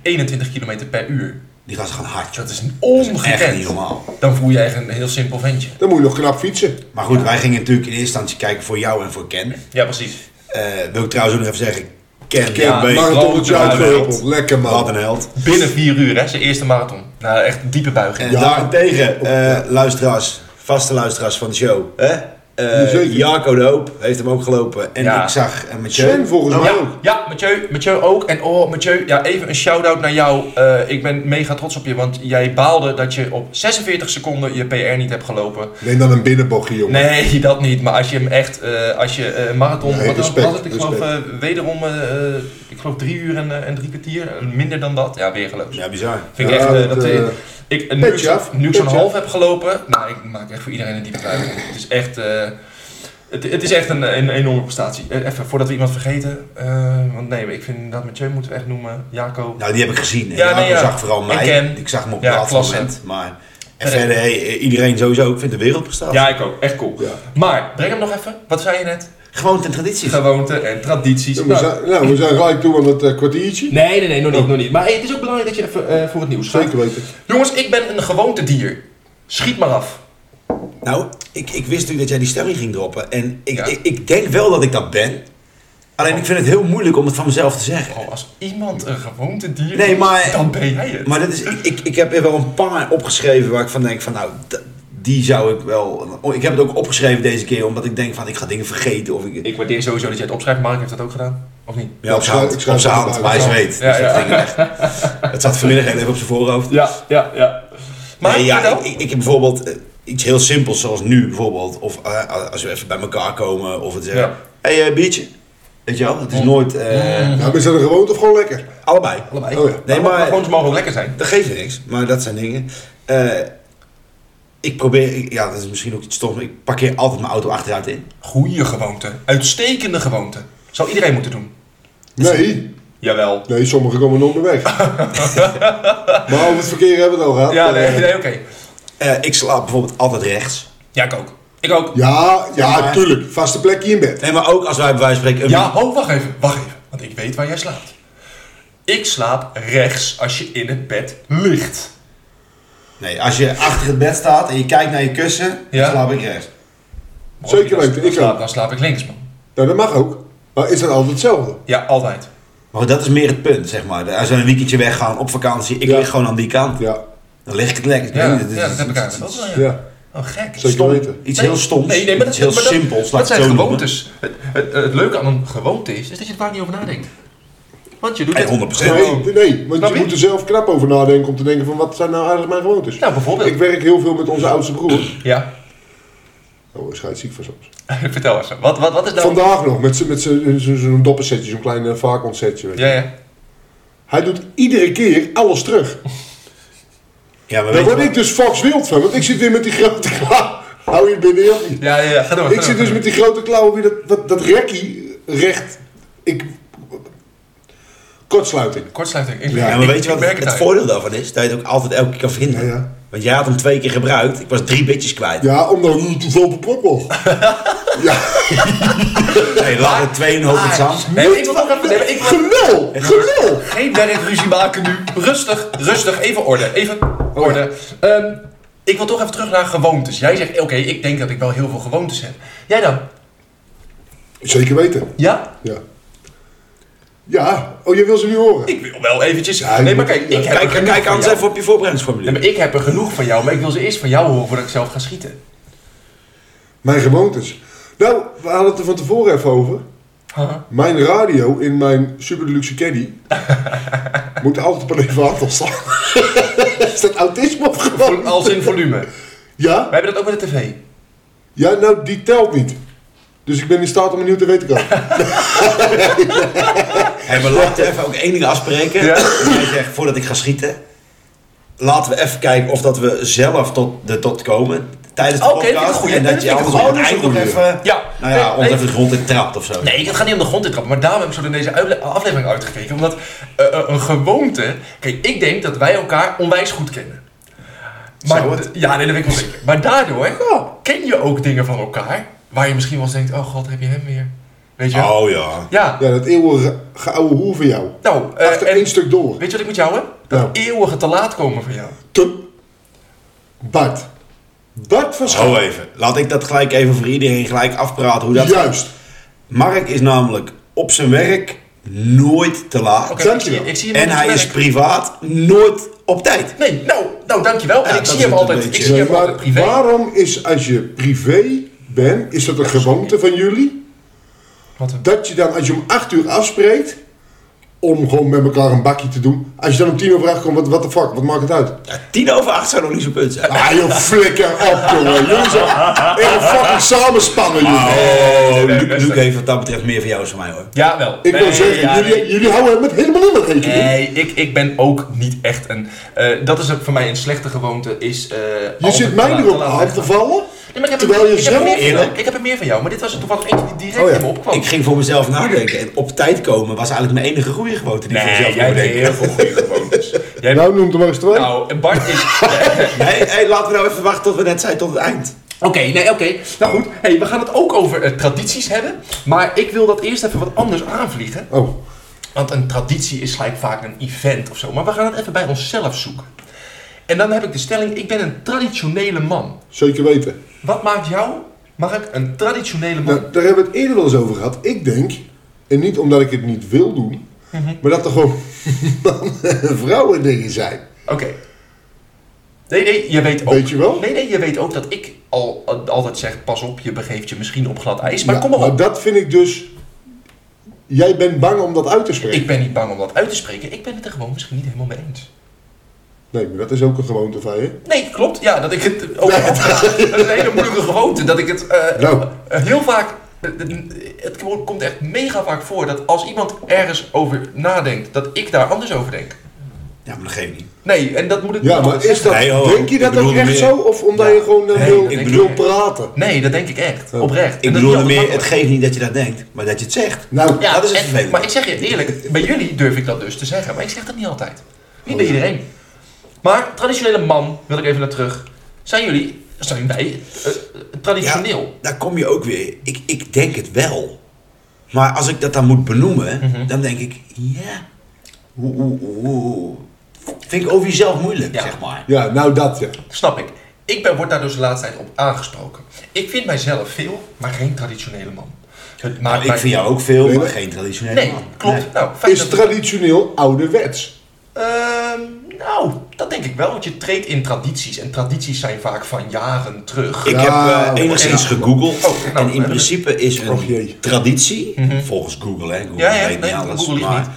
Speaker 1: 21 km per uur.
Speaker 3: Die gasten gaan hard, joh.
Speaker 1: Dat is een
Speaker 3: Dat is echt niet
Speaker 1: ongekend.
Speaker 3: normaal.
Speaker 1: Dan voel je echt een heel simpel ventje.
Speaker 2: Dan moet je nog knap fietsen.
Speaker 3: Maar goed, wij gingen natuurlijk in eerste instantie kijken voor jou en voor Ken.
Speaker 1: Ja, precies.
Speaker 3: Eh, wil ik trouwens ook nog even zeggen, Ken,
Speaker 1: Ken,
Speaker 3: een beetje-
Speaker 1: maar-
Speaker 2: Marathonnetje
Speaker 1: grote
Speaker 2: uitgehuppeld. Lekker
Speaker 3: wat een
Speaker 2: man.
Speaker 3: held.
Speaker 1: Binnen 4 uur, hè, zijn eerste marathon. Nou, echt een diepe buiging.
Speaker 3: En
Speaker 2: Ja.
Speaker 3: daarentegen, eh, luisteraars, vaste luisteraars van de show. Hè? Eh,
Speaker 2: Jazeker.
Speaker 3: Jaco de Hoop heeft hem ook gelopen. En
Speaker 1: Ja.
Speaker 3: ik zag eh, Mathieu.
Speaker 2: Sven volgens mij ook.
Speaker 1: Ja, ja Mathieu, Mathieu ook. En oh, Mathieu, ja, even een shout-out naar jou. Eh, ik ben mega trots op je, want jij baalde dat je op 46 seconden je PR niet hebt gelopen.
Speaker 2: Neem dan een binnenbochtje jongen.
Speaker 1: Nee, (laughs) dat niet. Maar als je hem echt, eh, als je eh, marathon,
Speaker 2: Nee,
Speaker 1: wat was-
Speaker 2: respect,
Speaker 1: was het? Ik geloof
Speaker 2: respect.
Speaker 1: eh, wederom, eh, eh, ik geloof drie uur en, eh, en drie kwartier, Eh, minder dan dat. Ja, weergeloos.
Speaker 3: Ja, bizar.
Speaker 1: Vind ik
Speaker 2: Ja,
Speaker 1: echt, eh,
Speaker 2: dat,
Speaker 1: dat, eh,
Speaker 2: eh,
Speaker 1: ik, eh, nu ik
Speaker 2: petje
Speaker 1: zo'n
Speaker 2: af,
Speaker 1: nu ik zo'n
Speaker 2: petje
Speaker 1: half heb gelopen, nou, ik maak echt voor iedereen een diepe buiging. Het is echt, eh, het, het is echt een, een enorme prestatie. Eh, Even, voordat we iemand vergeten, eh, want nee, ik vind dat Mathieu moeten we echt noemen, Jaco.
Speaker 3: Nou, die heb ik gezien. En
Speaker 1: Ja,
Speaker 3: Jaco
Speaker 1: nee, ja.
Speaker 3: zag vooral
Speaker 1: En
Speaker 3: mij.
Speaker 1: Ken.
Speaker 3: Ik zag hem op
Speaker 1: Ja,
Speaker 3: het laatste
Speaker 1: klasse.
Speaker 3: moment. Maar en
Speaker 1: Ja.
Speaker 3: verder, hey, eh, iedereen sowieso. Ik vind de wereldprestatie.
Speaker 1: Ja, ik ook. Echt cool.
Speaker 2: Ja.
Speaker 1: Maar, breng hem nog even. Wat zei je net?
Speaker 3: Gewoon ten traditie.
Speaker 1: Gewoonten en tradities.
Speaker 2: We
Speaker 1: Nou,
Speaker 2: zijn, nou, we zijn gelijk toe aan het eh, kwartiertje.
Speaker 1: Nee, nee, nee, nog niet, nog niet. Maar hey, het is ook belangrijk dat je even eh, voor het nieuws gaat.
Speaker 2: Oh. Zeker weten.
Speaker 1: Jongens, ik ben een gewoontedier. Schiet maar af.
Speaker 3: Nou, ik, ik wist natuurlijk dat jij die stelling ging droppen. En ik,
Speaker 1: Ja.
Speaker 3: ik, ik denk wel dat ik dat ben. Alleen ik vind het heel moeilijk om het van mezelf te zeggen.
Speaker 1: Oh, als iemand een gewoontedier
Speaker 3: Nee,
Speaker 1: is,
Speaker 3: maar-
Speaker 1: dan ben jij het.
Speaker 3: Maar dat is, ik, ik, ik heb er wel een paar opgeschreven waar ik van denk van nou, d- die zou ik wel... oh, Ik heb het ook opgeschreven deze keer omdat ik denk van ik ga dingen vergeten of ik...
Speaker 1: Ik waardeer sowieso dat jij het opschrijft. Mark heeft dat ook gedaan, of niet?
Speaker 3: ja, op
Speaker 2: Ik
Speaker 3: zijn
Speaker 2: schrijf-
Speaker 3: hand,
Speaker 2: ik schrijf
Speaker 3: op zijn
Speaker 2: het
Speaker 3: hand,
Speaker 2: uit.
Speaker 3: maar hij
Speaker 2: Ja.
Speaker 3: zweet.
Speaker 1: Ja,
Speaker 3: Dus dat
Speaker 1: ja.
Speaker 3: ging
Speaker 1: (laughs)
Speaker 3: echt- Het zat vanmiddag heel even op zijn voorhoofd.
Speaker 1: Ja, ja, ja. Maar
Speaker 3: nee, ja,
Speaker 1: vertel.
Speaker 3: ik, ik, ik heb bijvoorbeeld eh, iets heel simpels zoals nu bijvoorbeeld. Of eh, als we even bij elkaar komen of het zeggen.
Speaker 1: Ja. Mm.
Speaker 3: hey, eh, biertje. Weet je wel, het is nooit eh,
Speaker 2: Ja, maar is dat een gewoonte of gewoon lekker?
Speaker 3: allebei.
Speaker 1: Allebei.
Speaker 2: Oh ja.
Speaker 1: Nee,
Speaker 3: Nee,
Speaker 1: maar,
Speaker 3: maar-
Speaker 1: gewoon, ze mogen ook lekker zijn.
Speaker 3: Dat geeft niks, maar dat zijn dingen. Eh, ik probeer, ik- ja, dat is misschien ook iets stoms, maar ik parkeer altijd mijn auto achteruit in.
Speaker 1: Goeie gewoonte. Uitstekende gewoonte. Zou iedereen moeten doen.
Speaker 2: Nee,
Speaker 1: Jawel.
Speaker 2: nee, sommigen komen nooit meer
Speaker 1: (laughs)
Speaker 2: weg. maar over het verkeer hebben we het al gehad.
Speaker 1: Ja,
Speaker 2: Eh,
Speaker 1: nee, nee oké.
Speaker 3: Eh, ik slaap bijvoorbeeld altijd rechts.
Speaker 1: Ja, ik ook. Ik ook.
Speaker 2: Ja, ja,
Speaker 3: Ja.
Speaker 2: tuurlijk. Vaste plekje in bed.
Speaker 3: Nee, maar ook als wij bij wijze van spreken...
Speaker 1: Ja, ho, wacht even, wacht even. Want ik weet waar jij slaapt. Ik slaap rechts als je in het bed ligt.
Speaker 3: Nee, als je achter het bed staat en je kijkt naar je kussen,
Speaker 1: Ja.
Speaker 3: dan slaap ik rechts.
Speaker 1: Maar
Speaker 2: Zeker
Speaker 1: als ik
Speaker 2: weten,
Speaker 1: dan
Speaker 2: ik
Speaker 1: slaap,
Speaker 2: ook.
Speaker 1: dan slaap ik links, man.
Speaker 2: Nou, dat mag ook. Maar is dat altijd hetzelfde?
Speaker 1: Ja, altijd.
Speaker 3: Maar dat is meer het punt, zeg maar. Als we een weekendje weggaan op vakantie, ik
Speaker 2: Ja.
Speaker 3: lig gewoon aan die kant.
Speaker 2: Ja,
Speaker 3: Dan lig ik het lekker.
Speaker 1: Ja,
Speaker 3: Nee,
Speaker 1: ja,
Speaker 3: is-
Speaker 1: dat heb ik eigenlijk ook wel, ja.
Speaker 2: ja.
Speaker 1: Oh, gek.
Speaker 2: Zeker
Speaker 1: Stom.
Speaker 2: weten.
Speaker 3: Iets
Speaker 1: Nee,
Speaker 3: heel stoms,
Speaker 1: Nee, nee, maar dat,
Speaker 3: iets heel
Speaker 1: maar dat-
Speaker 3: simpels.
Speaker 1: Dat
Speaker 3: laat ik
Speaker 1: zijn
Speaker 3: het zo noemen.
Speaker 1: gewoontes. Het, het, het leuke aan een gewoonte is, is dat je er vaak niet over nadenkt. Want je doet
Speaker 3: Nee,
Speaker 1: het.
Speaker 3: 100%.
Speaker 1: gewoon.
Speaker 2: Nee, nee, want
Speaker 1: Snap
Speaker 2: je
Speaker 1: je?
Speaker 2: moet er zelf knap over nadenken om te denken van wat zijn nou eigenlijk mijn gewoontes.
Speaker 1: Nou, bijvoorbeeld.
Speaker 2: Ik werk heel veel met onze oudste broer.
Speaker 1: Ja, (laughs)
Speaker 2: Oh, hij scheidt ziek van soms.
Speaker 1: vertel eens. Wat, wat, wat is nou...
Speaker 2: Vandaag nog, met z'n- met z'n- zo'n zo'n doppersetje, zo'n klein eh, varkontsetje. weet je.
Speaker 1: Ja, ja.
Speaker 2: Hij doet iedere keer alles terug.
Speaker 3: Ja,
Speaker 2: Daar
Speaker 3: maar weet je
Speaker 2: word
Speaker 3: wat?
Speaker 2: ik dus fox wild van, want ik zit weer met die grote (laughs) klauw. Hou je binnen, joh.
Speaker 1: Ja, ja, ja. Ga door.
Speaker 2: Ik zit dus met die grote klauwen weer dat, dat, dat rekkie recht. Ik. Kortsluiting.
Speaker 1: Kortsluiting. Ik,
Speaker 2: Ja,
Speaker 3: Ja,
Speaker 1: ik-
Speaker 3: maar weet je
Speaker 1: ik
Speaker 3: wat
Speaker 1: merk
Speaker 3: het,
Speaker 1: het eigenlijk.
Speaker 3: voordeel daarvan is? Dat je het ook altijd elke keer kan
Speaker 2: Ja,
Speaker 3: vinden.
Speaker 2: ja.
Speaker 3: Want jij had hem twee keer gebruikt. Ik was drie bitjes kwijt.
Speaker 2: Ja, omdat hij te veel bepropt was.
Speaker 1: (laughs)
Speaker 2: ja,
Speaker 3: Nee, lag er twee in hoofd
Speaker 2: Ah,
Speaker 3: het zand.
Speaker 1: Nee, maar ik wil nog even... Nee, maar ik wil-
Speaker 2: gelul! Gelul!
Speaker 1: Geen werkruzie maken nu. Rustig, rustig. Even orde. Even orde. Ehm, ik wil toch even terug naar gewoontes. Jij zegt, oké, ik denk dat ik wel heel veel gewoontes heb. Jij dan?
Speaker 2: Zeker weten.
Speaker 1: Ja?
Speaker 2: Ja. Ja, oh, jij wil ze nu horen?
Speaker 1: Ik wil wel eventjes...
Speaker 2: Ja, je
Speaker 1: nee, maar
Speaker 2: moet-
Speaker 1: kijk, ik
Speaker 2: ja,
Speaker 1: heb er
Speaker 3: Kijk,
Speaker 1: genoeg
Speaker 3: kijk
Speaker 1: van
Speaker 3: anders
Speaker 1: jou.
Speaker 3: even op je voorbereidingsformulier.
Speaker 1: Nee, maar ik heb er genoeg van jou, maar ik wil ze eerst van jou horen voordat ik zelf ga schieten.
Speaker 2: Mijn gewoontes. Nou, we hadden het er van tevoren even over.
Speaker 1: Haha.
Speaker 2: Mijn radio in mijn super
Speaker 1: (laughs)
Speaker 2: deluxe caddy moet altijd op een even aantal staan. (laughs) Is dat autisme of
Speaker 1: Vol-
Speaker 2: gewoon?
Speaker 1: Als in volume.
Speaker 2: Ja?
Speaker 1: We hebben dat ook met de tv.
Speaker 2: Ja, nou, die telt niet. Dus ik ben in staat om een nieuw tv te kopen.
Speaker 3: Hey, maar laten we even ook één ding afspreken.
Speaker 1: Ja.
Speaker 3: En jij zegt, voordat ik ga schieten, laten we even kijken of dat we zelf tot de tot komen tijdens de
Speaker 1: Oké, vind ik een
Speaker 3: podcast.
Speaker 1: goeie.
Speaker 3: en
Speaker 1: Dat
Speaker 3: dat
Speaker 1: vind
Speaker 3: je
Speaker 1: ik
Speaker 3: anders
Speaker 1: een
Speaker 3: op het
Speaker 1: goeie.
Speaker 3: eind nog
Speaker 2: Goeie.
Speaker 3: even,
Speaker 1: Ja.
Speaker 3: nou ja,
Speaker 1: Nee,
Speaker 3: ons
Speaker 1: nee.
Speaker 3: even de grond in trapt of zo.
Speaker 1: Nee, het gaat niet om de grond in trappen, maar daarom heb ik zo naar deze uitle- aflevering uitgekeken. Omdat eh, eh, een gewoonte. Kijk, ik denk dat wij elkaar onwijs goed kennen. Maar,
Speaker 3: Zou het?
Speaker 1: Ja, nee, dat weet ik wel zeker. Maar daardoor ken je ook dingen van elkaar waar je misschien wel eens denkt: oh god, heb je hem weer? Weet je?
Speaker 3: Oh ja.
Speaker 1: Ja.
Speaker 2: Ja, dat eeuwige ge- oude hoer van jou.
Speaker 1: Nou, eh,
Speaker 2: Achter
Speaker 1: en
Speaker 2: één stuk door.
Speaker 1: weet je wat ik met jou heb? Dat
Speaker 2: Nou.
Speaker 1: eeuwige te laat komen van jou.
Speaker 2: Tup. Bart. Bart van Schaal.
Speaker 3: Zo even. Laat ik dat gelijk even voor iedereen gelijk afpraten hoe dat
Speaker 2: Juist.
Speaker 3: Mark is namelijk op zijn werk nooit te laat.
Speaker 1: Oké, ik,
Speaker 2: Dankjewel.
Speaker 1: zie, ik zie hem
Speaker 3: En
Speaker 1: op het
Speaker 3: hij
Speaker 1: werk.
Speaker 3: is privaat nooit op tijd.
Speaker 1: Nee, nou, nou dankjewel.
Speaker 3: Ja,
Speaker 1: en ik
Speaker 3: dat
Speaker 1: zie
Speaker 3: is
Speaker 1: hem
Speaker 3: het een
Speaker 1: altijd. Ik
Speaker 3: beetje.
Speaker 1: zie hem
Speaker 2: Maar
Speaker 1: altijd privé.
Speaker 2: waarom is als je privé bent, is dat een gewoonte van jullie?
Speaker 1: Wat een-
Speaker 2: Dat je dan, als je om 8 uur afspreekt, om gewoon met elkaar een bakje te doen. Als je dan om 10 over 8 komt, wat, what the fuck, wat maakt het uit?
Speaker 3: Ja, tien over acht zou nog niet zo'n punt zijn.
Speaker 2: Ah joh, flikker op jongen. Jullie zijn echt een fucking samenspannen jullie.
Speaker 3: Oh,
Speaker 1: nee,
Speaker 3: Luc,
Speaker 1: rustig.
Speaker 3: Luc heeft wat dat betreft meer van jou dan van mij hoor.
Speaker 1: Jawel.
Speaker 2: Ik wil
Speaker 1: Nee,
Speaker 2: zeggen,
Speaker 1: ja,
Speaker 2: jullie,
Speaker 1: nee.
Speaker 2: jullie houden het helemaal niet met rekening.
Speaker 1: Nee, ik, ik ben ook niet echt een. eh, dat is ook voor mij een slechte gewoonte. Is, eh,
Speaker 2: Je
Speaker 1: altijd
Speaker 2: zit
Speaker 1: te
Speaker 2: mij
Speaker 1: laat-
Speaker 2: erop
Speaker 1: te laat
Speaker 2: aan te
Speaker 1: weggaan.
Speaker 2: vallen.
Speaker 1: Nee, maar ik heb er-
Speaker 2: terwijl je
Speaker 1: ik heb er
Speaker 2: zelf-
Speaker 1: meer van jou.
Speaker 3: Eerlijk?
Speaker 1: Ik heb er meer van jou, maar dit was er toevallig eentje die direct
Speaker 2: Oh ja.
Speaker 1: in me opkwam.
Speaker 3: Ik ging voor mezelf nadenken en op tijd komen was eigenlijk mijn enige goede gewoonte die ik voor
Speaker 1: nee,
Speaker 3: mezelf
Speaker 1: jij hebt
Speaker 3: nadenken.
Speaker 1: heel veel goede
Speaker 2: (laughs)
Speaker 1: gewoontes. Jij
Speaker 2: Nou, noem er maar eens twee.
Speaker 1: Nou, en Bart is.
Speaker 3: Hey, hey, laten we nou even wachten tot we net zijn tot het eind.
Speaker 1: Oké, nee, oké. Nou goed, hey, we gaan het ook over eh, tradities hebben. Maar ik wil dat eerst even wat anders aanvliegen.
Speaker 2: Oh,
Speaker 1: Want een traditie is gelijk vaak een event of zo. Maar we gaan het even bij onszelf zoeken. En dan heb ik de stelling: ik ben een traditionele man.
Speaker 2: zeker weten.
Speaker 1: Wat maakt jou, Mark, een traditionele man?
Speaker 2: Nou, daar hebben we het eerder wel eens over gehad. Ik denk, en niet omdat ik het niet wil doen,
Speaker 1: Mhm.
Speaker 2: maar dat er
Speaker 1: (laughs)
Speaker 2: gewoon mannen en (laughs) vrouwen dingen zijn.
Speaker 1: Oké. Nee, nee, je weet ook...
Speaker 2: Weet je wel?
Speaker 1: Nee, nee, je weet ook dat ik al, al- altijd zeg, pas op, je begeeft je misschien op glad ijs. Maar
Speaker 2: Ja,
Speaker 1: kom maar op.
Speaker 2: dat vind ik dus. Jij bent bang om dat uit te spreken.
Speaker 1: Ik ben niet bang om dat uit te spreken. Ik ben het er gewoon misschien niet helemaal mee eens.
Speaker 2: Nee, maar dat is ook een gewoonte van je.
Speaker 1: Nee, klopt. Ja, dat ik het... Ook, dat is een hele moeilijke gewoonte. Dat ik het eh,
Speaker 2: Nou.
Speaker 1: eh, heel vaak... eh, Het komt echt mega vaak voor dat als iemand ergens over nadenkt, dat ik daar anders over denk.
Speaker 3: Ja, maar dat geeft niet.
Speaker 1: Nee, en Nou, dat moet ik
Speaker 2: Ja,
Speaker 1: altijd
Speaker 2: maar is dat,
Speaker 3: Nee, hoor.
Speaker 2: denk je
Speaker 3: Ik
Speaker 2: dat ook
Speaker 3: bedoelde
Speaker 2: echt
Speaker 3: meer-
Speaker 2: zo? Of omdat
Speaker 3: Ja.
Speaker 2: je gewoon eh,
Speaker 3: Nee,
Speaker 2: wil,
Speaker 3: ik
Speaker 1: bedoel-
Speaker 2: wil praten?
Speaker 1: Nee, dat denk ik echt.
Speaker 2: Ja.
Speaker 1: Oprecht.
Speaker 3: Ik
Speaker 1: En dat is
Speaker 3: bedoel
Speaker 1: niet
Speaker 3: meer,
Speaker 1: altijd
Speaker 3: het geeft niet dat je dat denkt, maar dat je het zegt.
Speaker 2: Nou,
Speaker 1: Ja,
Speaker 3: Dat is het
Speaker 1: en-
Speaker 3: vervelende.
Speaker 1: Maar ik zeg je eerlijk, bij jullie durf ik dat dus te zeggen, maar ik zeg dat niet altijd. Niet bij
Speaker 2: Oh, ja.
Speaker 1: iedereen. Maar traditionele man, wil ik even naar terug. Zijn jullie, zijn wij, eh, eh, traditioneel?
Speaker 3: daar kom je ook weer. Ik, ik denk het wel. Maar als ik dat dan moet benoemen,
Speaker 1: Mhm.
Speaker 3: dan denk ik, ja. Oeh, oeh, oeh, oeh. Vind ik over jezelf moeilijk,
Speaker 1: Ja.
Speaker 3: zeg maar.
Speaker 2: Ja, nou dat ja.
Speaker 1: Snap ik. Ik ben, word daar dus de laatste tijd op aangesproken. Ik vind mijzelf veel, maar geen traditionele man. Het maakt
Speaker 3: ik
Speaker 1: mij-
Speaker 3: vind jou ook veel,
Speaker 2: Nee,
Speaker 3: maar
Speaker 2: dat-
Speaker 3: geen traditionele
Speaker 1: Nee,
Speaker 3: man.
Speaker 1: klopt.
Speaker 3: Nee.
Speaker 1: Nou, fijn
Speaker 2: Is
Speaker 1: dat-
Speaker 2: traditioneel ouderwets.
Speaker 1: Ehm, nou, dat denk ik wel, want je treedt in tradities. En tradities zijn vaak van jaren terug.
Speaker 3: Ik
Speaker 2: Ja,
Speaker 3: heb eh,
Speaker 2: oké.
Speaker 3: enigszins gegoogeld
Speaker 1: Oh, nou,
Speaker 3: en in
Speaker 1: eh,
Speaker 3: principe is een
Speaker 2: Och, Oh, jee.
Speaker 3: traditie, volgens Google, hè, Google
Speaker 1: Ja, ja,
Speaker 3: weet
Speaker 1: nee,
Speaker 3: niet alles,
Speaker 1: Google liegt
Speaker 3: maar
Speaker 1: niet.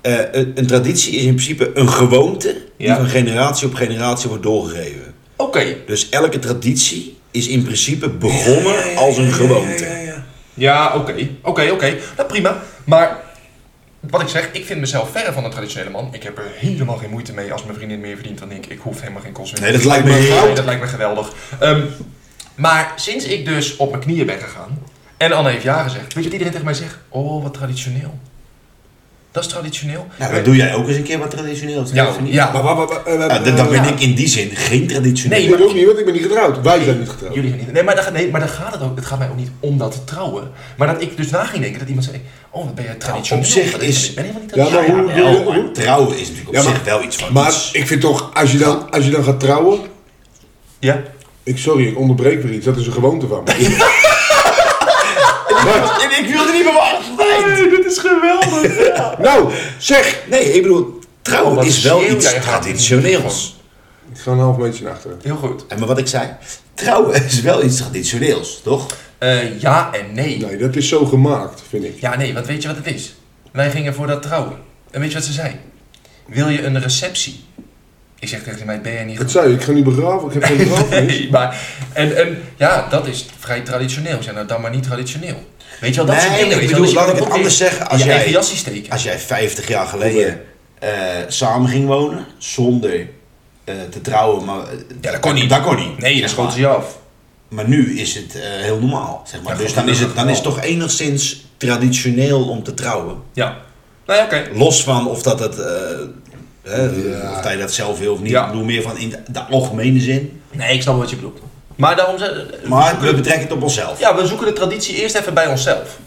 Speaker 3: eh, een, een traditie is in principe een gewoonte
Speaker 1: Ja.
Speaker 3: die van generatie op generatie wordt doorgegeven.
Speaker 1: Oké,
Speaker 3: Dus elke traditie is in principe begonnen als een gewoonte.
Speaker 1: Ja, oké. Oké, oké. Nou, prima. Maar wat ik zeg, ik vind mezelf verre van een traditionele man. Ik heb er helemaal geen moeite mee als mijn vriendin meer verdient dan ik. Ik hoef helemaal geen kosten
Speaker 3: Nee, dat lijkt me heel...
Speaker 1: Nee, dat lijkt me geweldig. Ehm, maar sinds ik dus op mijn knieën ben gegaan en Anne heeft ja gezegd, weet je wat iedereen tegen mij zegt? Oh, wat traditioneel. Dat is traditioneel. Eh,
Speaker 3: Ja, Nou, dat doe jij ook eens een keer wat traditioneel. is,
Speaker 1: Ja,
Speaker 3: of niet?
Speaker 1: ja.
Speaker 2: Maar wa- wa- wa- eh,
Speaker 3: Ja, d- dan ben
Speaker 1: Ja.
Speaker 3: ik in die zin geen traditioneel.
Speaker 1: Nee,
Speaker 2: Ik ook niet, want ik ben niet getrouwd. Wij zijn niet getrouwd.
Speaker 1: Jullie zijn niet. Nee, maar daar, nee, maar daar gaat het ook. Het gaat mij ook niet om dat te trouwen. Maar dat ik dus na ging denken dat iemand zei: Oh, wat ben jij traditioneel?
Speaker 3: op zich
Speaker 1: Dat ik-
Speaker 3: is-
Speaker 1: Ik ben helemaal niet
Speaker 2: Ja, maar
Speaker 1: traditioneel.
Speaker 2: hoe-
Speaker 3: Wel,
Speaker 2: Doe-
Speaker 3: maar trouwen is natuurlijk op
Speaker 2: Ja, maar-
Speaker 3: zich wel iets van
Speaker 2: Maar ik vind toch, als je dan, als je dan gaat trouwen...
Speaker 1: Ja.
Speaker 2: Ik, sorry, ik onderbreek weer iets. Dat is een gewoonte
Speaker 1: (laughs)
Speaker 2: van me. Maar-
Speaker 3: Ik wilde niet verwachten.
Speaker 1: dit is geweldig.
Speaker 2: nou, zeg!
Speaker 3: Nee, ik bedoel,
Speaker 1: Oh,
Speaker 3: trouwen
Speaker 1: wat
Speaker 3: is wel
Speaker 1: schreeuw
Speaker 3: iets
Speaker 1: jij gewoon.
Speaker 3: traditioneels.
Speaker 2: Ik ga een half meter naar achteren.
Speaker 1: (laughs) Heel goed.
Speaker 3: En maar wat ik zei, trouwen is wel iets traditioneels, toch?
Speaker 1: Eh, ja en nee.
Speaker 2: Nee, dat is zo gemaakt, vind ik.
Speaker 1: Ja, nee, want weet je wat het is? Wij gingen voor dat trouwen. En weet je wat ze zei? Wil je een receptie? Ik zeg tegen mij: Ben jij niet
Speaker 2: Dat
Speaker 1: goed?
Speaker 2: zei je, ik ga niet begraven. Ik heb geen
Speaker 1: (laughs)
Speaker 2: begrafenis.
Speaker 1: Nee, maar. En, en ja, dat is vrij traditioneel. Zijn dat dan maar niet traditioneel? Weet je wel, dat soort dingen.
Speaker 3: nee, ik
Speaker 1: weet je wel, dat
Speaker 3: bedoel,
Speaker 1: je
Speaker 3: laat
Speaker 1: dan
Speaker 3: ik het
Speaker 1: ook
Speaker 3: anders
Speaker 1: weer
Speaker 3: zeggen. Als
Speaker 1: je
Speaker 3: jij,
Speaker 1: eigen jasje steken.
Speaker 3: als jij 50 jaar geleden eh, samen ging wonen, zonder eh, te trouwen, maar... eh,
Speaker 1: Ja, dat kon niet.
Speaker 3: Dat kon niet.
Speaker 1: Nee,
Speaker 3: zeg
Speaker 1: dat schoten
Speaker 3: maar.
Speaker 1: ze je af.
Speaker 3: Maar nu is het eh, heel normaal, zeg maar.
Speaker 1: Ja,
Speaker 3: dus
Speaker 1: gewoon
Speaker 3: dan is, het, dan is het
Speaker 1: normaal.
Speaker 3: toch enigszins traditioneel om te trouwen.
Speaker 1: Ja. Nou ja, oké.
Speaker 3: Los van of dat het... eh, hè,
Speaker 2: Ja.
Speaker 3: Of dat je dat zelf wil of niet.
Speaker 1: Ja.
Speaker 3: Ik bedoel meer van in de, de algemene zin.
Speaker 1: Nee, ik snap wat je bedoelt. Maar daarom ze,
Speaker 3: Maar we betrekken het op onszelf. Ja,
Speaker 1: ja, we zoeken de traditie eerst even bij onszelf.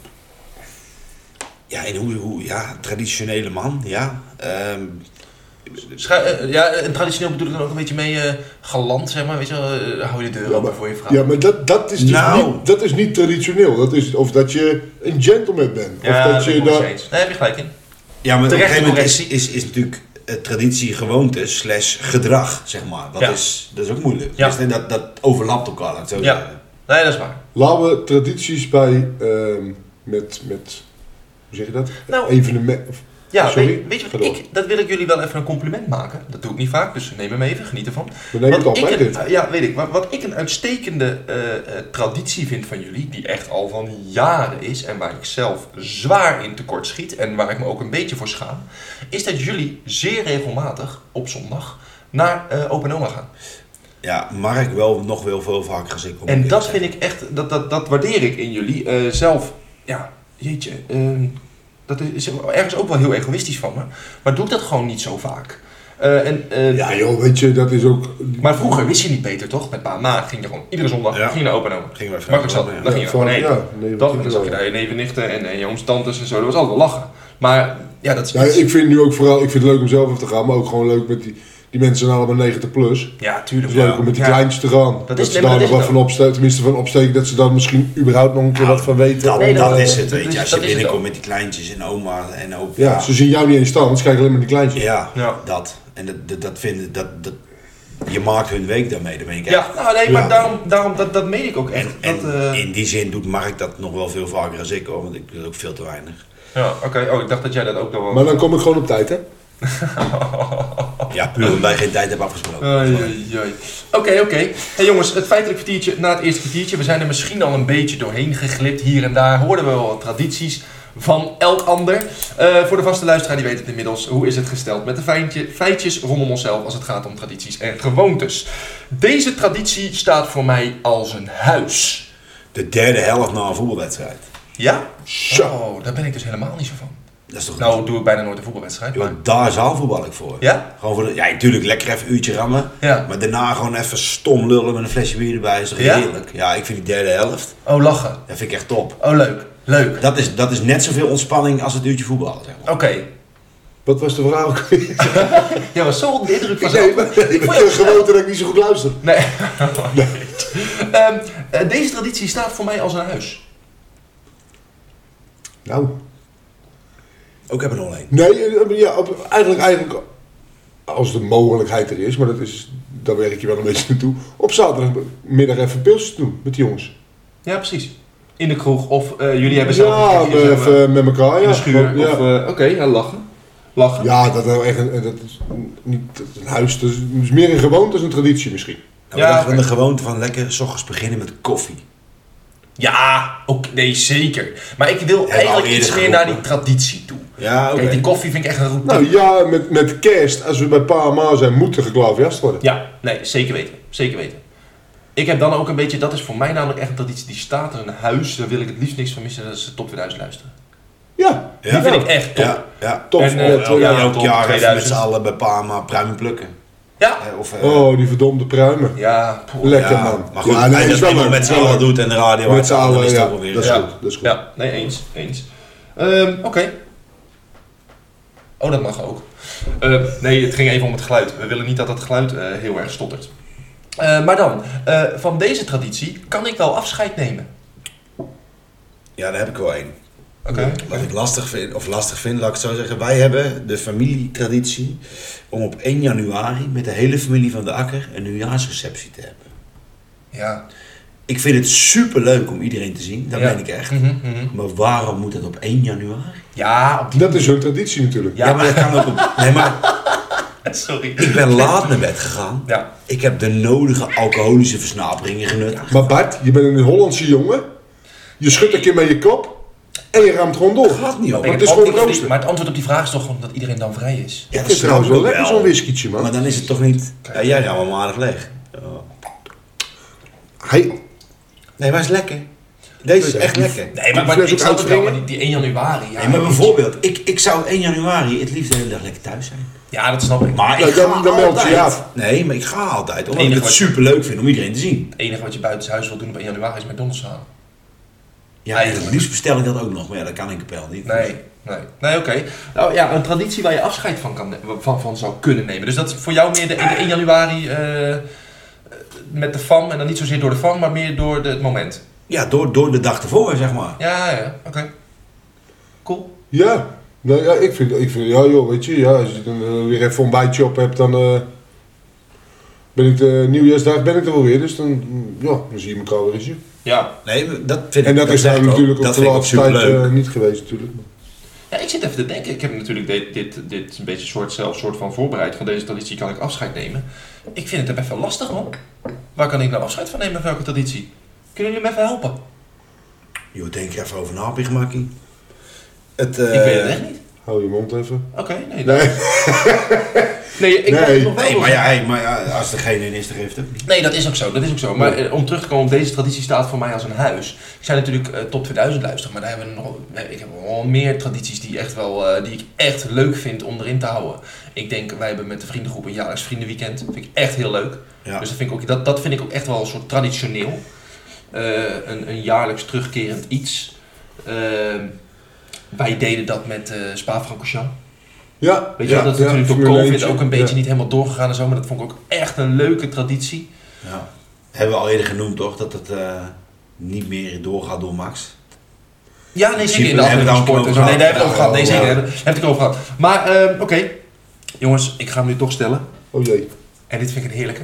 Speaker 3: en hoe, hoe... Ja, traditionele man, ja. Ehm,
Speaker 1: Scha- eh, ja, en traditioneel bedoel ik dan ook een beetje mee eh, galant, zeg maar. Weet je wel, eh, hou je de deur open voor je vrouw.
Speaker 2: Ja, maar dat, dat, is dus
Speaker 3: Nou.
Speaker 2: niet, dat is niet traditioneel. Dat is, of dat je een gentleman bent. Of
Speaker 1: Ja,
Speaker 2: dat
Speaker 1: ben
Speaker 2: je
Speaker 1: ik wel
Speaker 2: daar...
Speaker 1: eens eens. Nee, heb je gelijk in.
Speaker 3: ja, maar op een
Speaker 1: Terechte
Speaker 3: gegeven moment is,
Speaker 1: correctie.
Speaker 3: is, is natuurlijk eh, traditie gewoonte slash gedrag, zeg maar. Dat,
Speaker 1: Ja.
Speaker 3: is, dat is ook moeilijk.
Speaker 1: Ja.
Speaker 3: Dus, nee, dat, dat overlapt elkaar, laat ik het zo
Speaker 1: Ja.
Speaker 3: zeggen.
Speaker 1: Nee, dat is waar.
Speaker 2: Laten we tradities bij... ehm, met, met... Hoe zeg je dat?
Speaker 1: Nou.
Speaker 2: Evenement... of-
Speaker 1: Ja,
Speaker 2: Sorry?
Speaker 1: weet, weet je
Speaker 2: Ga
Speaker 1: wat
Speaker 2: door.
Speaker 1: ik... Dat wil ik jullie wel even een compliment maken. Dat doe ik niet vaak, dus neem hem even, geniet ervan.
Speaker 2: We nemen
Speaker 1: Wat
Speaker 2: het altijd
Speaker 1: ik
Speaker 2: in.
Speaker 1: een- Ja, weet ik. Maar wat ik een uitstekende eh, eh, traditie vind van jullie, die echt al van jaren is en waar ik zelf zwaar in tekort schiet en waar ik me ook een beetje voor schaam, is dat jullie zeer regelmatig op zondag naar eh Open Oma gaan.
Speaker 3: Ja, Mark wel nog wel veel vaker als ik. om
Speaker 1: En
Speaker 3: eerlijk
Speaker 1: dat
Speaker 3: te
Speaker 1: vind ik echt, dat, dat, dat waardeer ik in jullie eh, zelf. Ja, jeetje, ehm, dat is ergens ook wel heel egoïstisch van me, maar doe ik dat gewoon niet zo vaak. Eh, en, eh,
Speaker 2: Ja joh, weet je, dat is ook...
Speaker 1: Maar vroeger wist je niet beter, toch? Met pa en ma ging je gewoon iedere zondag
Speaker 3: Ja.
Speaker 1: ging je naar Open Oma.
Speaker 3: Gingen wij
Speaker 1: Makkelijk zat,
Speaker 3: vrijdag wel,
Speaker 1: dan ging je
Speaker 2: van-
Speaker 1: gewoon heen.
Speaker 2: ja, nee,
Speaker 1: Dat,
Speaker 2: natuurlijk
Speaker 1: dan zag je
Speaker 2: wel.
Speaker 1: daar je neven, nichten en, en je ooms, tantes en zo. Dat was altijd wel lachen. Maar ja, dat is...
Speaker 2: Ja, Nou, ik vind nu ook vooral... Ik vind het leuk om zelf af te gaan. Maar ook gewoon leuk met die... Die mensen zijn allemaal 90 plus. Het
Speaker 1: Ja, tuurlijk.
Speaker 2: is leuk om met die
Speaker 1: Ja.
Speaker 2: kleintjes te gaan. Dat,
Speaker 1: is-
Speaker 2: ze
Speaker 1: nee,
Speaker 2: daar
Speaker 1: maar
Speaker 2: nog
Speaker 1: dat is
Speaker 2: wat
Speaker 1: het
Speaker 2: van opsteken. Tenminste van opsteken dat ze daar misschien überhaupt nog een keer
Speaker 3: Nou,
Speaker 2: wat van weten.
Speaker 3: Dat,
Speaker 1: Nee,
Speaker 3: dat,
Speaker 1: dat-
Speaker 3: is het,
Speaker 1: dat
Speaker 3: weet je.
Speaker 1: is-
Speaker 3: Als
Speaker 1: dat
Speaker 3: je
Speaker 1: is het
Speaker 3: binnenkomt
Speaker 1: ook.
Speaker 3: met die kleintjes en oma en opa.
Speaker 2: Ja, ze zien jou niet eens staan, want ze kijken alleen maar die kleintjes.
Speaker 3: ja,
Speaker 1: Ja.
Speaker 3: dat. En dat, dat, dat vinden, dat, dat, je maakt hun week daarmee, daarmee. Kijk,
Speaker 1: Ja, nou nee, maar
Speaker 2: Ja.
Speaker 1: daarom, daarom dat, dat meen ik ook echt.
Speaker 3: En, en
Speaker 1: dat, eh,
Speaker 3: in die zin doet Mark dat nog wel veel vaker dan ik hoor, want ik doe het ook veel te weinig.
Speaker 1: Ja, oké. Oh, ik dacht dat jij dat ook nog wel...
Speaker 2: Maar dan kom ik gewoon op tijd, hè?
Speaker 1: Oh.
Speaker 3: Ja, puur omdat wij geen tijd hebben afgesproken.
Speaker 1: Oei, oei, oei. Oké, oké. Hey jongens, het feitelijk kwartiertje na het eerste kwartiertje. We zijn er misschien al een beetje doorheen geglipt. Hier en daar hoorden we wel wat tradities van elk ander. Eh, voor de vaste luisteraar die weet het inmiddels. Hoe is het gesteld met de feintje, feitjes rondom onszelf als het gaat om tradities en gewoontes? Deze traditie staat voor mij als een huis.
Speaker 3: De derde helft na een voetbalwedstrijd.
Speaker 1: Ja?
Speaker 2: Zo.
Speaker 1: Oh, daar ben ik dus helemaal niet zo van.
Speaker 3: Dat is toch
Speaker 1: Nou doe ik bijna nooit een voetbalwedstrijd. maar-
Speaker 3: Joh, daar zaalvoetbal ik voor.
Speaker 1: Ja?
Speaker 3: Gewoon voor de, ja, natuurlijk lekker even een uurtje rammen.
Speaker 1: Ja.
Speaker 3: Maar daarna gewoon even stom lullen met een flesje bier erbij. Is toch
Speaker 1: Ja?
Speaker 3: heerlijk? Ja, ik vind die derde helft.
Speaker 1: Oh, lachen.
Speaker 3: Dat vind ik echt top.
Speaker 1: Oh, leuk. Leuk. Oké.
Speaker 3: Dat is, dat is net zoveel ontspanning als het uurtje voetballen. Zeg maar.
Speaker 2: Wat was de vraag ook weer?
Speaker 1: Jij was zo onder de indruk van
Speaker 2: Nee,
Speaker 1: zelf.
Speaker 2: maar ik (laughs)
Speaker 1: vond
Speaker 2: ben
Speaker 1: je-
Speaker 2: een gewoonte dat ik niet zo goed luister.
Speaker 1: Nee. (laughs) Ehm, eh, deze traditie staat voor mij als een huis.
Speaker 2: Nou.
Speaker 3: Ook hebben we er al één.
Speaker 2: Nee, eh, ja, op- eigenlijk, eigenlijk als de mogelijkheid er is, maar dat is, daar werk je wel een beetje naartoe. Op zaterdagmiddag even pilsjes doen met die jongens.
Speaker 1: Ja, precies. In de kroeg of eh, jullie hebben zelf
Speaker 2: ja,
Speaker 1: een kroegje,
Speaker 2: even
Speaker 1: zeg maar,
Speaker 2: met elkaar.
Speaker 1: in
Speaker 2: ja.
Speaker 1: de schuur.
Speaker 2: Ja.
Speaker 1: Of, eh, Oké, ja, lachen. Lachen.
Speaker 2: Ja, dat is wel echt een, dat is niet dat is een huis, dat is meer een gewoonte als een traditie misschien.
Speaker 3: Nou, we
Speaker 1: Ja,
Speaker 3: dachten van
Speaker 1: oké.
Speaker 3: de gewoonte van lekker 's ochtends beginnen met koffie.
Speaker 1: Ja, ook, nee, zeker. Maar ik wil
Speaker 3: we al
Speaker 1: eigenlijk
Speaker 3: eerder
Speaker 1: iets meer naar
Speaker 3: geroepen.
Speaker 1: die traditie toe.
Speaker 3: Ja, oké.
Speaker 1: Kijk, die koffie vind ik echt een routine.
Speaker 2: Nou ja, met, met kerst, als we bij pa en ma zijn, moeten geklaverjast worden.
Speaker 1: Ja, nee, zeker weten. Zeker weten. Ik heb dan ook een beetje, dat is voor mij namelijk echt een traditie die staat als een huis. Daar wil ik het liefst niks van missen. Dat is de top 2000 luisteren.
Speaker 2: Ja,
Speaker 1: Die vind ik
Speaker 2: echt.
Speaker 1: echt top. Ja,
Speaker 3: Ja, ja.
Speaker 2: Top.
Speaker 1: En,
Speaker 2: Ja,
Speaker 1: eh,
Speaker 2: ja,
Speaker 1: top,
Speaker 2: ja.
Speaker 1: ja.
Speaker 3: Elk
Speaker 1: top,
Speaker 3: jaar even met
Speaker 1: 2000.
Speaker 3: z'n allen bij Parma pruimen plukken.
Speaker 1: ja.
Speaker 3: Eh, Of, eh,
Speaker 2: Oh, die verdomde pruimen.
Speaker 1: poeh.
Speaker 2: Lekker
Speaker 3: ja.
Speaker 2: man.
Speaker 3: Maar goed,
Speaker 2: Ja, nee,
Speaker 3: als
Speaker 2: is
Speaker 3: je dat
Speaker 2: wel
Speaker 3: eenmaal
Speaker 2: leuk,
Speaker 3: met z'n
Speaker 2: is wel
Speaker 3: allen
Speaker 2: leuk.
Speaker 3: doet en de radio
Speaker 2: Met z'n
Speaker 3: uit, dan
Speaker 2: allen,
Speaker 3: is het
Speaker 2: ja.
Speaker 3: ook wel weer-
Speaker 2: Dat is
Speaker 1: Ja.
Speaker 2: goed, dat is goed.
Speaker 1: Ja, nee, eens. eens. Ehm, Oké. Oh, dat mag ook. Eh, nee, het ging even om het geluid. We willen niet dat het geluid eh, heel erg stottert. Eh, maar dan, eh, van deze traditie kan ik wel afscheid nemen.
Speaker 3: Ja, daar heb ik wel één.
Speaker 1: Oké.
Speaker 3: Wat ik lastig vind, of lastig vind, laat ik het zo zeggen. Wij hebben de familietraditie om op 1 januari met de hele familie van de Akker een nieuwjaarsreceptie te hebben.
Speaker 1: Ja.
Speaker 3: Ik vind het super leuk om iedereen te zien, dat
Speaker 1: Ja.
Speaker 3: meen ik echt.
Speaker 1: Mhm, mhm.
Speaker 3: Maar waarom moet dat op 1 januari?
Speaker 1: Ja, op die...
Speaker 2: Dat is hun traditie natuurlijk.
Speaker 1: Ja.
Speaker 3: Ja, maar dat kan ook
Speaker 2: (laughs)
Speaker 3: op. Nee, maar ik
Speaker 1: Sorry.
Speaker 3: ben laat naar bed gegaan.
Speaker 1: Ja.
Speaker 3: Ik heb de nodige alcoholische versnaperingen genut.
Speaker 2: Maar Bart, je bent een Hollandse jongen. Je schudt een keer met je kop en je raamt gewoon door.
Speaker 3: Dat gaat niet, hoor.
Speaker 2: Maar
Speaker 1: Nee,
Speaker 2: het is
Speaker 1: op-
Speaker 2: gewoon
Speaker 1: ik-
Speaker 2: rooster.
Speaker 1: Maar het antwoord op die vraag is toch gewoon dat iedereen dan vrij is.
Speaker 3: Ja,
Speaker 2: Het is trouwens wel lekker zo'n whiskietje,
Speaker 3: Maar
Speaker 2: man.
Speaker 3: dan is het toch niet. Ja, jij gaat wel aardig leeg. Ja.
Speaker 2: Hij,
Speaker 3: Nee, maar het is lekker. Deze is echt lekker.
Speaker 1: Nee,
Speaker 2: maar-
Speaker 1: maar,
Speaker 2: maar Kun je
Speaker 1: ik
Speaker 2: ik snap het wel,
Speaker 1: wel,
Speaker 2: maar
Speaker 1: die, 1 januari. Ja,
Speaker 3: Nee, maar bijvoorbeeld, ik, ik zou 1 januari het liefst de hele dag lekker thuis zijn.
Speaker 1: ja, dat snap ik. Maar
Speaker 3: Maar
Speaker 2: Nou,
Speaker 3: ik
Speaker 2: dan-
Speaker 3: ga
Speaker 2: dan meld je
Speaker 3: altijd.
Speaker 2: je af.
Speaker 3: Nee, maar ik ga altijd. Omdat ik
Speaker 1: enige
Speaker 3: het
Speaker 1: wat-
Speaker 3: super leuk vind om iedereen te zien.
Speaker 1: het enige wat je buiten huis wil doen op 1 januari is McDonald's halen.
Speaker 3: Ja, en het liefst bestel ik dat ook nog, maar ja, dat kan in Kapel niet.
Speaker 1: Nee, nee. Nee, oké. Nou ja, een traditie waar je afscheid van, kan, ne- van, van zou kunnen nemen. Dus dat is voor jou meer de, de 1 januari eh, eh, met de fam. En dan niet zozeer door de fam, maar meer door de, het moment.
Speaker 3: Ja, door, door de dag ervoor, zeg maar.
Speaker 1: Ja, ja, oké. Cool.
Speaker 2: ja. Nou ja, ik vind, ik vind, ja joh, weet je, ja, als je dan eh, weer even een bijtje op hebt, dan eh, ben ik de eh, nieuwjaarsdag ben ik er wel weer, dus dan, mm, ja, dan zie je elkaar weer eens. joh.
Speaker 1: Ja.
Speaker 3: Nee, maar dat vind ik
Speaker 2: En dat is
Speaker 3: zeg ik
Speaker 2: nou
Speaker 3: ook.
Speaker 2: natuurlijk op
Speaker 3: dat
Speaker 2: de
Speaker 3: vind ik ook
Speaker 2: laatste
Speaker 3: super
Speaker 2: tijd
Speaker 3: leuk.
Speaker 2: eh, niet geweest natuurlijk.
Speaker 1: Ja, ik zit even te denken. Ik heb natuurlijk dit, dit, dit een beetje soort, zelf soort van voorbereid. Van deze traditie kan ik afscheid nemen. Ik vind het best wel lastig, man. Waar kan ik nou afscheid van nemen van welke traditie? Kunnen jullie me even helpen?
Speaker 3: Joh, denk er even over na, Pigmakkie. Het, eh,
Speaker 1: ik weet het echt niet.
Speaker 2: Hou je mond even.
Speaker 1: Oké, nee. dan-
Speaker 2: Nee, (laughs)
Speaker 1: Nee, ik
Speaker 2: Nee.
Speaker 1: wil het nog wel
Speaker 3: Nee,
Speaker 1: doen.
Speaker 3: maar ja, hey, maar ja, als er geen in is, dan geeft het ook niet.
Speaker 1: Nee, dat is ook zo. Dat is ook zo. Maar eh, om terug te komen, deze traditie staat voor mij als een huis. Ik zei natuurlijk eh, top 2000 luisteren, maar daar hebben we nog, nee, ik heb wel meer tradities die, echt wel, eh, die ik echt leuk vind om erin te houden. Ik denk, wij hebben met de vriendengroep een jaarlijks vriendenweekend. Dat vind ik echt heel leuk.
Speaker 3: Ja.
Speaker 1: Dus dat vind, ik ook, dat, dat vind ik ook echt wel een soort traditioneel. Eh, een, een jaarlijks terugkerend iets. Ehm, wij deden dat met eh Spa-Francorchamps.
Speaker 2: ja.
Speaker 1: Weet je
Speaker 2: ja,
Speaker 1: wel, dat is
Speaker 2: ja,
Speaker 1: natuurlijk door
Speaker 2: Formule
Speaker 1: COVID
Speaker 2: 1'tje.
Speaker 1: ook een beetje
Speaker 2: Ja.
Speaker 1: niet helemaal doorgegaan en zo. Maar dat vond ik ook echt een leuke traditie.
Speaker 3: Ja. Hebben we al eerder genoemd, toch? Dat het eh, niet meer doorgaat door Max.
Speaker 1: Ja, nee,
Speaker 3: In
Speaker 1: zeker in
Speaker 3: principe
Speaker 1: de
Speaker 3: hebben
Speaker 1: afdeling
Speaker 3: we het
Speaker 1: sport
Speaker 3: ook
Speaker 1: en zo. Nee,
Speaker 3: over
Speaker 1: daar hebben we het over gehad.
Speaker 3: gehad.
Speaker 1: Nee,
Speaker 3: Ja,
Speaker 1: zeker.
Speaker 3: ja.
Speaker 1: daar hebben- Daar heb ik het over gehad. Maar, ehm, oké. Jongens, ik ga hem nu toch stellen.
Speaker 2: Oh jee.
Speaker 1: En dit vind ik een heerlijke.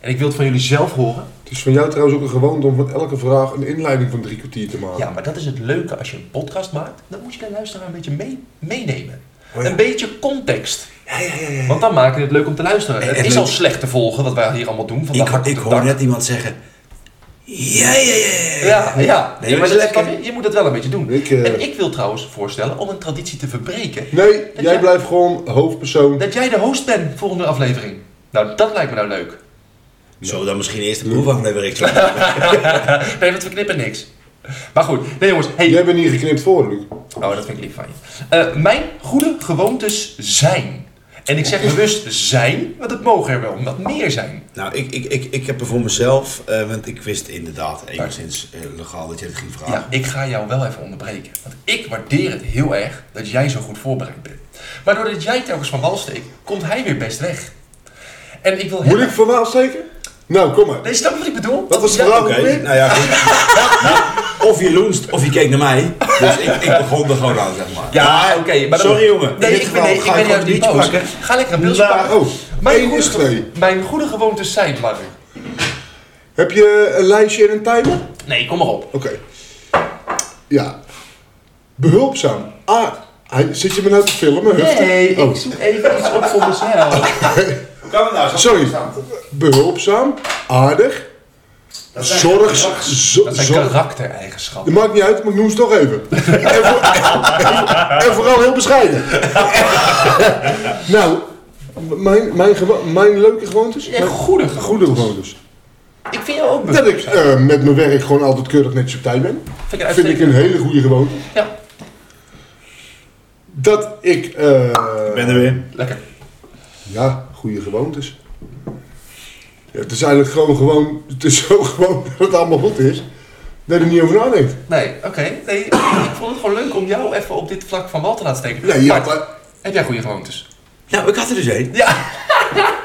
Speaker 1: En ik wil het van jullie zelf horen.
Speaker 2: Het is van jou trouwens ook een gewoonte om van elke vraag een inleiding van drie kwartier te
Speaker 3: Oh.
Speaker 2: maken.
Speaker 1: Ja, maar dat is het leuke als je een podcast maakt. Dan moet je de luisteraar een beetje mee, meenemen.
Speaker 3: Oh ja.
Speaker 1: Een beetje context.
Speaker 3: Ja, ja, ja, ja.
Speaker 1: Want dan maken we het leuk om te luisteren.
Speaker 3: En-
Speaker 1: Het
Speaker 3: en
Speaker 1: is
Speaker 3: leuk-
Speaker 1: al slecht te volgen wat wij hier allemaal doen. Van de
Speaker 3: Ik,
Speaker 1: hak op
Speaker 3: ik
Speaker 1: de
Speaker 3: hoor
Speaker 1: tak.
Speaker 3: net iemand zeggen... Ja, ja, ja,
Speaker 1: Ja, ja.
Speaker 3: Nee,
Speaker 1: Ja, maar
Speaker 3: dat is
Speaker 1: dat-
Speaker 3: lekker.
Speaker 1: Je moet het wel een beetje doen.
Speaker 2: Ik, eh,
Speaker 1: En ik wil trouwens voorstellen om een traditie te verbreken.
Speaker 2: Nee,
Speaker 1: Dat
Speaker 2: jij
Speaker 1: jij-
Speaker 2: blijft gewoon hoofdpersoon.
Speaker 1: Dat jij de host bent volgende aflevering. Nou, dat lijkt me nou leuk.
Speaker 3: Zo, dan misschien eerst een proefaflevering.
Speaker 1: (laughs) Nee, want we knippen niks. Maar goed, nee jongens, hey.
Speaker 2: Jij bent niet geknipt voor, Luc.
Speaker 1: Oh, dat vind ik lief van je. Eh, mijn goede gewoontes zijn. En ik zeg bewust zijn, want het mogen er wel wat meer zijn.
Speaker 3: Nou, ik, ik, ik, ik heb er voor mezelf, eh, want ik wist inderdaad enigszins eh, legaal dat je het ging vragen.
Speaker 1: Ja, ik ga jou wel even onderbreken. Want ik waardeer het heel erg dat jij zo goed voorbereid bent. Maar doordat jij telkens van wal steekt, komt hij weer best weg. En ik wil
Speaker 2: Moet ik van Waal steken? Nou, kom maar.
Speaker 1: Nee, snap je wat ik bedoel?
Speaker 2: Wat was het
Speaker 1: Ja,
Speaker 2: verhaal?
Speaker 3: Oké,
Speaker 2: Oké.
Speaker 3: nou ja, goed. Nou, of je loenst of je keek naar mij. Dus ik, ik begon er gewoon aan, zeg maar.
Speaker 1: Ja, oké. maar dan-
Speaker 3: Sorry, jongen. In
Speaker 1: Nee, ik
Speaker 3: dit
Speaker 1: ben,
Speaker 3: geval
Speaker 1: nee, ik
Speaker 3: ga
Speaker 1: ben
Speaker 3: ik
Speaker 1: juist
Speaker 3: gewoon
Speaker 1: niet
Speaker 3: een
Speaker 1: boos.
Speaker 3: biertje pakken.
Speaker 1: Ga lekker een pilsje
Speaker 2: Nou,
Speaker 1: pakken.
Speaker 2: oh, één is
Speaker 1: gewo-
Speaker 2: twee.
Speaker 1: mijn goede gewoontes zijn, Mark.
Speaker 2: Heb je een lijstje en een timer?
Speaker 1: Nee, kom maar op.
Speaker 2: Oké. Ja. Behulpzaam. Ah, hij, zit je me nou te filmen? Hufte?
Speaker 1: Nee,
Speaker 2: Oh,
Speaker 1: ik zoek even iets op voor mezelf.
Speaker 3: Kan het nou?
Speaker 2: sorry. Behulpzaam, aardig, zorg, zo-
Speaker 1: Dat zijn
Speaker 2: zorg.
Speaker 1: karaktereigenschappen.
Speaker 2: Het maakt niet uit, maar ik noem ze toch
Speaker 1: (laughs)
Speaker 2: even. en, voor- en- en vooral heel bescheiden. nou, m- mijn, mijn, gewo- mijn leuke gewoontes?
Speaker 1: Ja,
Speaker 2: Mijn
Speaker 1: goede gewoontes.
Speaker 2: goede gewoontes.
Speaker 1: Ik vind jou ook bewust.
Speaker 2: Dat ik eh, met mijn werk gewoon altijd keurig netjes op tijd ben.
Speaker 1: Vind ik een
Speaker 2: Vind ik een
Speaker 1: uitstekende.
Speaker 2: hele goede gewoonte.
Speaker 1: Ja,
Speaker 2: Dat ik... eh,
Speaker 3: ben er weer.
Speaker 1: lekker.
Speaker 2: Ja, goede gewoontes. Ja, het is eigenlijk gewoon, gewoon, het is zo gewoon (laughs) dat het allemaal goed is, dat je er niet over nadenkt.
Speaker 1: Nee, oké. Nee, ik vond het gewoon leuk om jou even op dit vlak van wal te laten steken.
Speaker 2: Nee, ja,
Speaker 1: Bart,
Speaker 2: maar-
Speaker 1: Heb jij goede gewoontes?
Speaker 3: Nou, ik had er dus één.
Speaker 1: Ja.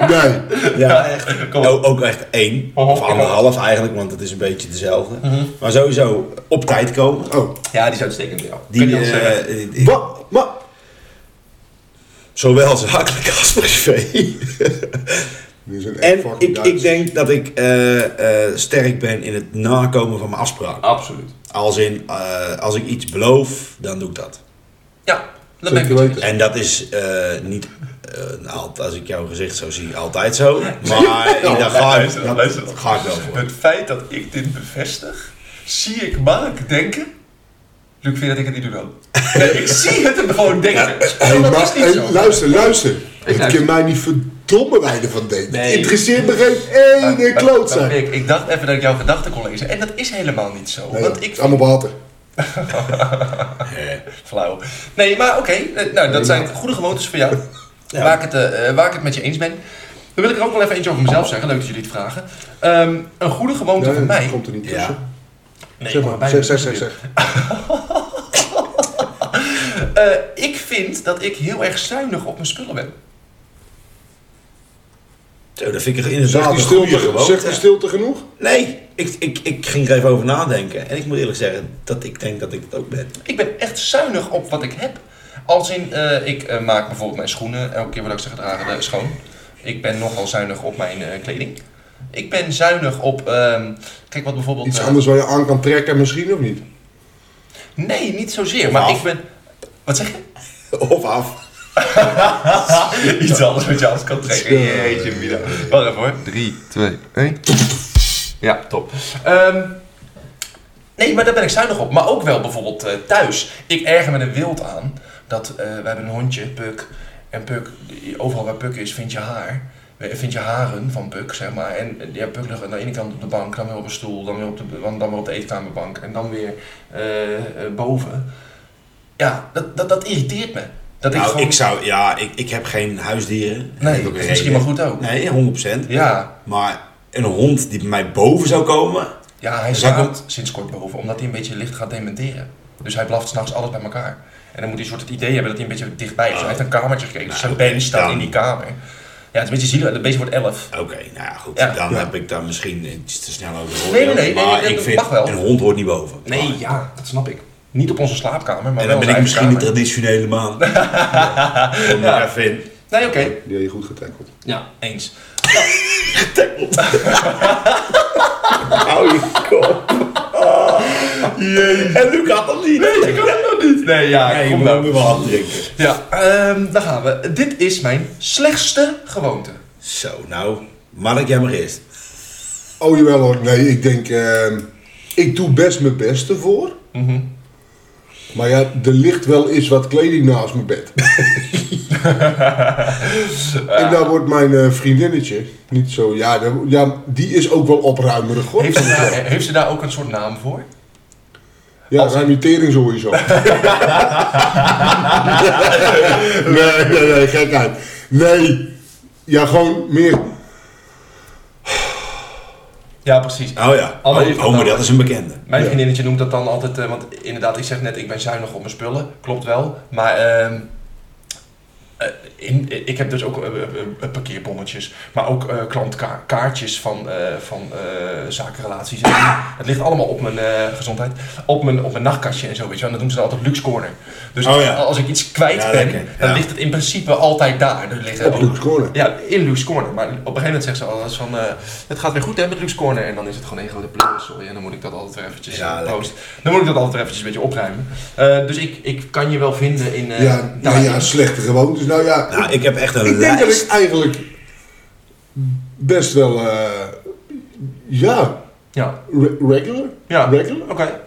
Speaker 2: nee.
Speaker 3: Ja, echt.
Speaker 1: Kom op.
Speaker 3: Ook, ook echt één.
Speaker 1: Oh,
Speaker 3: Of
Speaker 1: kom op. Mhm.
Speaker 3: anderhalf eigenlijk, want het is een beetje dezelfde. Maar sowieso op tijd komen.
Speaker 2: Oh,
Speaker 1: Ja, die is uitstekend bij jou.
Speaker 3: Die,
Speaker 1: Kun je niet anders zeggen.
Speaker 3: eh, die- die-
Speaker 2: wat? Maar,
Speaker 3: zowel zakelijk
Speaker 1: (laughs)
Speaker 3: als privé.
Speaker 2: dit is een echt
Speaker 3: en
Speaker 2: fucking
Speaker 3: ik, ik
Speaker 2: Duits.
Speaker 3: denk dat ik eh, eh, sterk ben in het nakomen van mijn afspraken.
Speaker 1: Absoluut.
Speaker 3: Als in, eh, als ik iets beloof, dan doe ik dat.
Speaker 1: Ja, dat ben ik met
Speaker 2: Zeker
Speaker 1: je eens.
Speaker 2: weten.
Speaker 3: En dat is eh, niet, eh, alt- als ik jouw gezicht zo zie, altijd zo. Maar
Speaker 1: Ja,
Speaker 3: daar ga ik,
Speaker 1: luister, luister.
Speaker 3: dat ga ik wel voor.
Speaker 1: Het feit dat ik dit bevestig, zie ik Mark denken. Luc vind dat ik het niet doe dan. Nee, ik zie het hem gewoon denken.
Speaker 2: Hey,
Speaker 1: Oh, dat
Speaker 2: maar-
Speaker 1: is niet
Speaker 2: hey,
Speaker 1: zo.
Speaker 2: Luister, luister.
Speaker 1: luister.
Speaker 2: Het kan mij niet verdomme weinig van deed.
Speaker 1: Nee.
Speaker 2: Interesseert me geen ene
Speaker 1: Maar-
Speaker 2: kloot
Speaker 1: maar
Speaker 2: zijn.
Speaker 1: Mick, ik dacht even dat ik jouw gedachten kon lezen. En dat is helemaal niet zo.
Speaker 2: Nee,
Speaker 1: want
Speaker 2: het
Speaker 1: ik
Speaker 2: is allemaal water.
Speaker 1: flauw. Nee, maar oké. eh, Nou, dat zijn goede gewoontes voor
Speaker 2: (laughs)
Speaker 1: jou.
Speaker 3: Ja.
Speaker 1: Waar, ik het, eh, eh, waar ik het met je eens ben. Dan wil ik er ook wel even eentje over mezelf zeggen. Leuk dat jullie het vragen. Ehm, een goede gewoonte
Speaker 2: Nee,
Speaker 1: voor mij.
Speaker 2: komt er niet
Speaker 3: Ja.
Speaker 2: tussen.
Speaker 1: Nee,
Speaker 2: Zeg
Speaker 1: kom
Speaker 2: maar,
Speaker 1: bij
Speaker 2: zeg,
Speaker 1: me.
Speaker 2: zeg, zeg, zeg.
Speaker 1: Eh, ik vind dat ik heel erg zuinig op mijn spullen ben.
Speaker 3: Zo, dat vind ik
Speaker 2: Zegt
Speaker 3: inderdaad
Speaker 2: die
Speaker 3: een goede
Speaker 2: stilte, zegt
Speaker 3: gewoonte.
Speaker 2: die stilte genoeg?
Speaker 3: Nee, ik, ik, ik ging er even over nadenken. En ik moet eerlijk zeggen dat ik denk dat ik het ook ben.
Speaker 1: Ik ben echt zuinig op wat ik heb. Als in, eh, ik eh, maak bijvoorbeeld mijn schoenen elke keer wat ik ze gedragen eh, schoon. Ik ben nogal zuinig op mijn eh, kleding. Ik ben zuinig op, ehm, kijk wat bijvoorbeeld...
Speaker 2: Iets
Speaker 1: eh,
Speaker 2: anders waar je aan kan trekken misschien of niet?
Speaker 1: Nee, niet zozeer, maar
Speaker 3: Af.
Speaker 1: ik ben... Wat zeg je?
Speaker 3: Of af.
Speaker 1: (laughs) Iets anders wat je anders kan trekken. Jeetje, Mina. Wacht even hoor. 3, 2, 1. Ja, top. Ehm, nee, maar daar ben ik zuinig op. Maar ook wel bijvoorbeeld eh, thuis. Ik erger me er wild aan dat eh, we hebben een hondje, Puk. En Puk, overal waar Puk is, vind je haar. Eh, Vind je haren van Puk, zeg maar. En eh, ja, Puk ligt aan de ene kant op de bank, dan weer op een stoel, dan weer op de, dan weer op de eetkamerbank en dan weer eh, eh, boven. Ja, dat, dat, dat irriteert me. Dat ik
Speaker 3: nou,
Speaker 1: gewoon...
Speaker 3: ik zou, ja, ik, ik heb geen huisdieren.
Speaker 1: Nee,
Speaker 3: Ik heb ook geen
Speaker 1: misschien
Speaker 3: reden.
Speaker 1: maar goed ook.
Speaker 3: Nee, 100%.
Speaker 1: Ja,
Speaker 3: Maar een hond die bij mij boven zou komen,
Speaker 1: ja Dus hij
Speaker 3: Zou ik
Speaker 1: slaapt sinds kort boven, omdat hij een beetje licht gaat dementeren. Dus hij blaft s'nachts alles bij elkaar. En dan moet hij een soort het idee hebben dat hij een beetje dichtbij is. Hij heeft een kamertje gekregen, dus zijn
Speaker 3: oké,
Speaker 1: bench staat
Speaker 3: dan-
Speaker 1: in die kamer. Ja, het is een beetje zielig, het beestje wordt 11.
Speaker 3: Oké, nou ja, goed.
Speaker 1: Ja.
Speaker 3: Dan
Speaker 2: Ja.
Speaker 3: heb ik daar misschien iets te snel over gehoord.
Speaker 1: Nee, nee, nee, nee,
Speaker 3: maar
Speaker 1: nee,
Speaker 3: ik
Speaker 1: dat
Speaker 3: vind,
Speaker 1: mag wel.
Speaker 3: een hond hoort niet boven.
Speaker 1: Nee,
Speaker 3: Maar-
Speaker 1: ja, dat snap ik. Oh. Niet op onze slaapkamer, maar
Speaker 3: En
Speaker 1: wel
Speaker 3: dan ben
Speaker 1: in
Speaker 3: ik
Speaker 1: zijn eigen
Speaker 3: misschien de traditionele man. ja. Maar even in.
Speaker 1: kamer. Nee, oké.
Speaker 2: Die heb je goed getackled.
Speaker 1: Ja, eens.
Speaker 3: Hou je kop. En Luc had dat niet.
Speaker 1: Nee, ik kan het nog niet. Nee, ja,
Speaker 3: Nee, je
Speaker 1: kom
Speaker 3: moet
Speaker 1: nou.
Speaker 3: ook wel hard drinken.
Speaker 1: Ja, ehm, daar gaan we. Dit is mijn slechtste gewoonte.
Speaker 3: Zo, nou, Mark, jij maar eerst.
Speaker 2: Oh jawel hoor, nee, ik denk, ehm, ik doe best mijn best ervoor. Maar ja, er ligt wel eens wat kleding naast mijn bed. En daar wordt mijn eh, vriendinnetje niet zo, ja, daar- ja, die is ook wel opruimerig hoor.
Speaker 1: Heeft ze, daar, heeft ze daar ook een soort naam voor?
Speaker 2: Ja, ruimitering sowieso. nee, nee, nee, gekheid. Nee, ja, gewoon meer.
Speaker 1: Ja, precies.
Speaker 3: Oh ja,
Speaker 1: Anne
Speaker 3: oh,
Speaker 1: heeft
Speaker 3: oh,
Speaker 1: het
Speaker 3: maar
Speaker 1: nou.
Speaker 3: dat is een bekende.
Speaker 1: Mijn
Speaker 2: Ja.
Speaker 1: vriendinnetje noemt dat dan altijd, eh, want inderdaad, ik zeg net, ik ben zuinig op mijn spullen. Klopt wel. Maar ehm, eh, in, eh, ik heb dus ook eh, eh, eh, parkeerbonnetjes, maar ook eh, klantkaartjes van, eh, van eh, zakenrelaties. En het ligt allemaal op mijn eh, gezondheid, op mijn, op mijn nachtkastje en zo. Weet je wel. En dat doen ze dan altijd luxe corner. Dus
Speaker 3: Oh ja.
Speaker 1: als ik iets kwijt
Speaker 3: Ja,
Speaker 1: ben,
Speaker 3: lekker.
Speaker 1: dan
Speaker 3: Ja.
Speaker 1: ligt het in principe altijd daar. Er liggen
Speaker 2: Op
Speaker 1: ook-
Speaker 2: Luke's Corner.
Speaker 1: Ja, in Luke's Corner. Maar op een gegeven moment zegt ze altijd van, eh, het gaat weer goed hè met Luke's Corner. En dan is het gewoon één grote pleuriszooi. En dan moet ik dat altijd weer eventjes
Speaker 3: Ja,
Speaker 1: eh,
Speaker 3: lekker.
Speaker 1: posten. Dan moet ik dat altijd weer eventjes een beetje opruimen. Eh, dus ik, ik kan je wel vinden in... eh,
Speaker 2: ja, nou
Speaker 1: daarin.
Speaker 2: ja, slechte gewoontes. Nou ja,
Speaker 3: Nou, ik heb echt een
Speaker 2: ik denk dat
Speaker 3: lijst.
Speaker 2: ik eigenlijk best wel, eh, ja,
Speaker 1: Ja,
Speaker 2: re- regular.
Speaker 1: Ja.
Speaker 2: Regular?
Speaker 1: oké.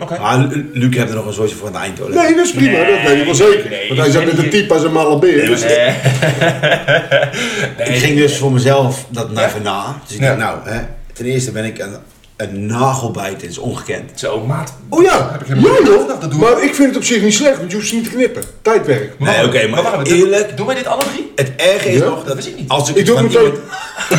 Speaker 1: Oké.
Speaker 3: Maar Lu- Luc heeft er nog een soortje voor aan het eind. hoor.
Speaker 2: Nee, dat is prima, dat weet ik wel zeker.
Speaker 1: nee,
Speaker 2: Want hij zat
Speaker 1: nee,
Speaker 2: met een
Speaker 1: nee.
Speaker 2: type als een malle beer. dus-
Speaker 1: Eh,
Speaker 3: Ik ging dus voor mezelf dat naar even na. Dus ik
Speaker 1: Ja.
Speaker 3: dacht, nou, hè, ten eerste ben ik een, een nagelbijt, is ongekend.
Speaker 1: Zo, maat.
Speaker 2: Oh ja,
Speaker 1: Heb ik
Speaker 2: ja
Speaker 1: helemaal niet
Speaker 2: joh.
Speaker 1: gedacht, dat doen we.
Speaker 2: Maar ik vind het op zich niet slecht, want je hoeft ze niet te knippen. Tijdwerk.
Speaker 3: Nee,
Speaker 1: Wacht,
Speaker 3: oké, maar
Speaker 1: wacht even, doen-
Speaker 3: eerlijk-
Speaker 1: Doen wij dit alle
Speaker 3: (laughs)
Speaker 1: drie?
Speaker 3: Het erge is
Speaker 2: Ja,
Speaker 3: nog
Speaker 1: dat
Speaker 3: dat
Speaker 1: wist ik niet.
Speaker 3: als ik,
Speaker 2: Ik doe
Speaker 3: het
Speaker 2: het
Speaker 3: van
Speaker 2: meteen.
Speaker 3: iemand,
Speaker 1: Ga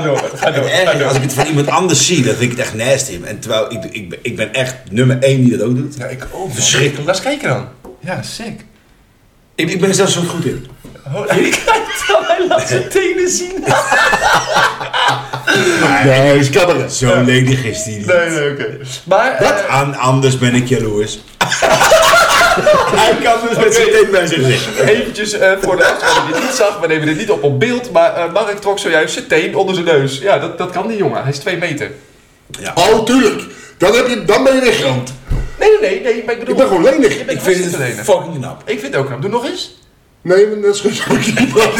Speaker 1: door, ga door,
Speaker 3: het
Speaker 1: ga
Speaker 3: erge is, als
Speaker 1: door.
Speaker 3: ik het van iemand anders zie, dan vind ik het echt nasty. En terwijl ik, ik, ben- ik ben echt nummer één die dat ook doet.
Speaker 1: Ja, ik ook. man.
Speaker 3: Verschrikkelijk.
Speaker 1: Laat eens kijken dan. Ja, sick.
Speaker 3: Ik, ik ben er zelfs zo goed in.
Speaker 1: Oh, (laughs) hij kijkt dan, hij laat zijn tenen zien.
Speaker 2: Nee, is kabberen.
Speaker 3: Zo ledig is die niet.
Speaker 1: nee, oké. Maar... eh,
Speaker 3: Aan anders ben ik jaloers. (laughs) Hij kan dus met zijn
Speaker 1: Oké.
Speaker 3: teen bij zich zitten.
Speaker 1: Eventjes eh, voor de afstand die dit niet zag, we nemen dit niet op op beeld, maar eh, Mark trok zojuist zijn teen onder zijn neus. Ja, dat, dat kan niet, jongen. Hij is twee meter.
Speaker 2: Oh, tuurlijk. Dan, heb je, dan ben je weggerand.
Speaker 1: Nee, nee, nee, nee, maar ik bedoel...
Speaker 2: Ik ben gewoon lenig.
Speaker 1: Je bent
Speaker 3: Ik vind
Speaker 1: hartstikke
Speaker 3: het
Speaker 1: lenig.
Speaker 3: fucking knap.
Speaker 1: Ik vind het ook knap. Doe nog eens.
Speaker 2: Nee, maar dat is gewoon iemand.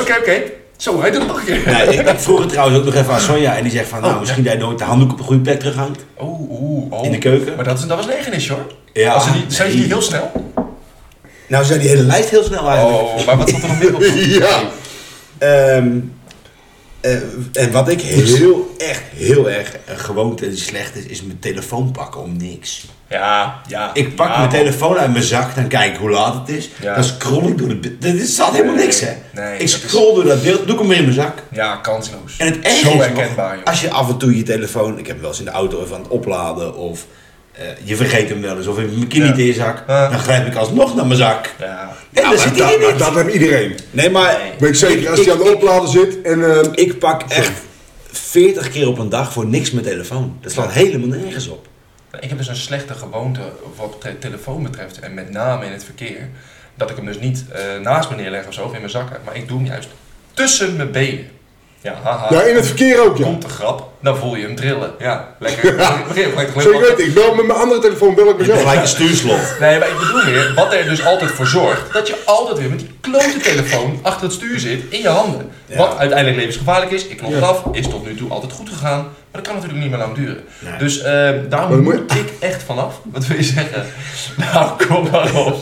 Speaker 1: Oké, oké. Zo, hij doet het nog een keer.
Speaker 3: Nee, ik, ik vroeg het trouwens ook nog even aan Sonja en die zegt van, nou, misschien dat je nooit de handdoek op een goede plek terughangt.
Speaker 1: Oh, oeh, oh.
Speaker 3: In de keuken.
Speaker 1: Maar dat, is, dat was een ergernis, hoor.
Speaker 3: Ja,
Speaker 1: Als ze niet, Zijn ze
Speaker 3: nee.
Speaker 1: niet heel snel?
Speaker 3: Nou, zei die hele lijst heel snel eigenlijk.
Speaker 1: Oh, maar wat zat er nog
Speaker 3: (laughs)
Speaker 1: meer op?
Speaker 2: Ja.
Speaker 3: Ehm, eh, en wat ik heel, echt heel erg een gewoonte en slecht is, is mijn telefoon pakken om niks.
Speaker 1: Ja, ja.
Speaker 3: Ik pak
Speaker 1: ja,
Speaker 3: mijn
Speaker 1: man.
Speaker 3: telefoon uit mijn zak, dan kijk ik hoe laat het is.
Speaker 1: Ja.
Speaker 3: Dan scroll ik door het beeld. Er staat helemaal niks, hè?
Speaker 1: Nee,
Speaker 3: ik
Speaker 1: dat is-
Speaker 3: scroll door dat beeld, doe ik hem weer in mijn zak.
Speaker 1: Ja, kansloos.
Speaker 3: En het
Speaker 1: Zo
Speaker 3: ergste is
Speaker 1: herkenbaar,
Speaker 3: nog,
Speaker 1: joh.
Speaker 3: als je af en toe je telefoon, ik heb hem wel eens in de auto even aan het opladen, of eh, je vergeet hem wel eens, of in mijn kinderteerzak,
Speaker 1: Ja.
Speaker 3: dan grijp ik alsnog naar mijn zak.
Speaker 1: Ja.
Speaker 3: En daar
Speaker 2: maar
Speaker 3: zit
Speaker 2: dat,
Speaker 3: hij
Speaker 2: maar
Speaker 3: niet.
Speaker 2: dat heeft iedereen.
Speaker 3: Nee, maar
Speaker 1: Nee.
Speaker 2: Weet ik zeker, als
Speaker 3: Ik-
Speaker 2: hij aan de oplader zit en... eh,
Speaker 3: ik pak echt 40 keer op een dag voor niks mijn telefoon. Dat slaat helemaal nergens op.
Speaker 1: Ik heb dus een slechte gewoonte wat te- telefoon betreft en met name in het verkeer. Dat ik hem dus niet eh, naast me neerleg of zo of in mijn zak heb, maar ik doe hem juist tussen mijn benen. Ja, haha.
Speaker 2: ja, in het verkeer ook, ja.
Speaker 1: Komt de grap, dan voel je hem trillen. Ja,
Speaker 2: (laughs)
Speaker 1: lekker. Begin gelijk te
Speaker 2: Zo, ik
Speaker 1: glimlachen.
Speaker 2: weet, ik bel met mijn andere telefoon, bel ik mezelf.
Speaker 3: (laughs) Gelijk een stuurslot.
Speaker 1: Nee, maar ik bedoel meer, wat er dus altijd voor zorgt, dat je altijd weer met die klote telefoon achter het stuur zit, in je handen.
Speaker 3: Ja.
Speaker 1: Wat uiteindelijk levensgevaarlijk is, ik klop het
Speaker 2: Ja.
Speaker 1: af, is tot nu toe altijd goed gegaan, maar dat kan natuurlijk niet meer lang duren.
Speaker 3: Nee.
Speaker 1: Dus eh, daar
Speaker 2: Maar dan
Speaker 1: moet
Speaker 2: moet je-
Speaker 1: ik echt vanaf. Wat wil je zeggen? (laughs) Nou, kom maar op.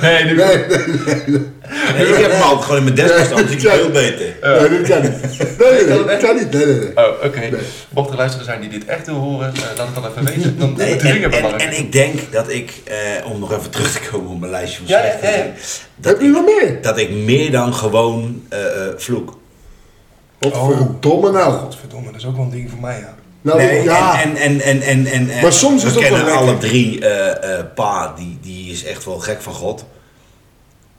Speaker 1: Nee, nu...
Speaker 2: Nee, nee,
Speaker 3: Nee, ik heb hem altijd gewoon in mijn desk staan, dus ik
Speaker 2: Ja.
Speaker 3: veel beter.
Speaker 2: nee, dat kan (laughs) niet. Nee, nee, nee, dat kan niet. Nee, nee, nee.
Speaker 1: Oh, oké. Mocht er luisteren zijn die dit echt wil horen, eh, laat het dan even weten. Dan
Speaker 3: Nee,
Speaker 1: dringen
Speaker 3: en,
Speaker 1: we
Speaker 3: en,
Speaker 1: maar.
Speaker 3: en ik denk dat ik, eh, om nog even terug te komen op mijn lijstje van
Speaker 1: Ja, ja,
Speaker 3: slechte
Speaker 1: ja, ja.
Speaker 3: dingen,
Speaker 2: Heb je nog meer?
Speaker 3: dat ik meer dan gewoon eh, eh, vloek.
Speaker 2: Wat
Speaker 3: Oh.
Speaker 2: verdomme nou.
Speaker 1: Godverdomme, dat is ook wel een ding voor mij, ja.
Speaker 2: Nou,
Speaker 3: Nee,
Speaker 2: ja.
Speaker 3: en, en, en, en, en, en-
Speaker 2: Maar soms
Speaker 3: we
Speaker 2: is dat
Speaker 3: kennen
Speaker 2: wel lekker.
Speaker 3: alle drie eh, eh, pa, die, die is echt wel gek van God.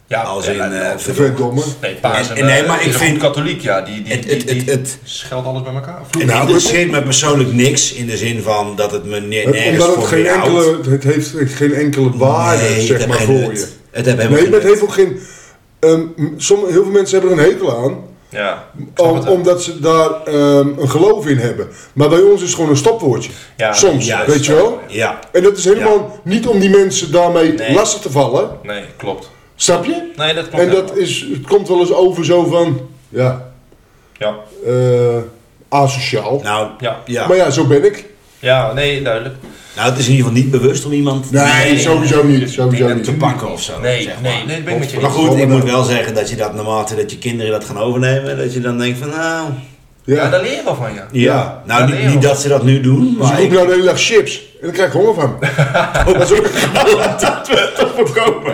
Speaker 1: Ja,
Speaker 3: Als
Speaker 1: ja,
Speaker 3: in,
Speaker 1: nou,
Speaker 3: eh,
Speaker 1: als-
Speaker 2: verdomme.
Speaker 1: Nee, eh, paas
Speaker 3: En- en nee, maar ik vind-
Speaker 1: katholiek, ja. Die, die,
Speaker 3: Het- het-
Speaker 1: die-
Speaker 3: het-
Speaker 1: die
Speaker 3: het-
Speaker 1: scheldt alles bij elkaar.
Speaker 3: Het
Speaker 1: Vloek.
Speaker 2: Nou,
Speaker 3: interesseert me persoonlijk niks in de zin van dat het me ne-
Speaker 2: Het-
Speaker 3: nergens
Speaker 2: Omdat
Speaker 3: voor
Speaker 2: het geen
Speaker 3: weerhoudt.
Speaker 2: enkele, het heeft geen enkele waarde,
Speaker 3: Nee, het
Speaker 2: zeg
Speaker 3: heeft
Speaker 2: maar,
Speaker 3: geen
Speaker 2: voor
Speaker 3: nut.
Speaker 2: je.
Speaker 3: Het heeft helemaal
Speaker 2: Nee,
Speaker 3: geen
Speaker 2: maar het
Speaker 3: nut.
Speaker 2: heeft ook geen... ehm, m- sommige, heel veel mensen hebben er een hekel aan.
Speaker 1: Ja.
Speaker 3: Oh,
Speaker 2: Om- omdat ze daar ehm, een geloof in hebben. Maar bij ons is het gewoon een stopwoordje.
Speaker 1: Ja,
Speaker 2: Soms,
Speaker 3: juist.
Speaker 2: weet je wel?
Speaker 3: Ja.
Speaker 2: En dat is helemaal niet om die mensen daarmee
Speaker 1: Nee.
Speaker 2: lastig te vallen.
Speaker 1: Nee, klopt.
Speaker 2: Snap je?
Speaker 1: Nee, dat klopt.
Speaker 2: En dat is, het komt wel eens over zo van, ja,
Speaker 1: Ja.
Speaker 2: eh, asociaal.
Speaker 3: Nou,
Speaker 1: Ja.
Speaker 3: ja.
Speaker 2: Maar ja, zo ben ik.
Speaker 1: ja, nee, duidelijk.
Speaker 3: nou, het is in ieder geval niet bewust om iemand
Speaker 2: Nee, sowieso niet. Sowieso
Speaker 3: te
Speaker 2: niet.
Speaker 3: pakken of zo.
Speaker 1: Nee,
Speaker 3: zeg
Speaker 1: nee,
Speaker 3: maar.
Speaker 1: nee, dat ben ik met je
Speaker 3: Maar
Speaker 1: eens.
Speaker 3: goed, ik moet wel zeggen dat je dat naarmate dat je kinderen dat gaan overnemen, dat je dan denkt van nou...
Speaker 1: Ja, daar
Speaker 2: Ja.
Speaker 1: leer je wel van, ja.
Speaker 2: Ja.
Speaker 3: Nou,
Speaker 1: Ja,
Speaker 3: niet,
Speaker 1: nee,
Speaker 3: niet
Speaker 1: joh.
Speaker 3: dat ze dat nu doen,
Speaker 2: Dus ik
Speaker 3: maar
Speaker 2: roep
Speaker 3: ik (laughs)
Speaker 2: nou de hele dag chips. En dan krijg ik honger van. (laughs) dat is ook...
Speaker 3: dat we het op voorkomen.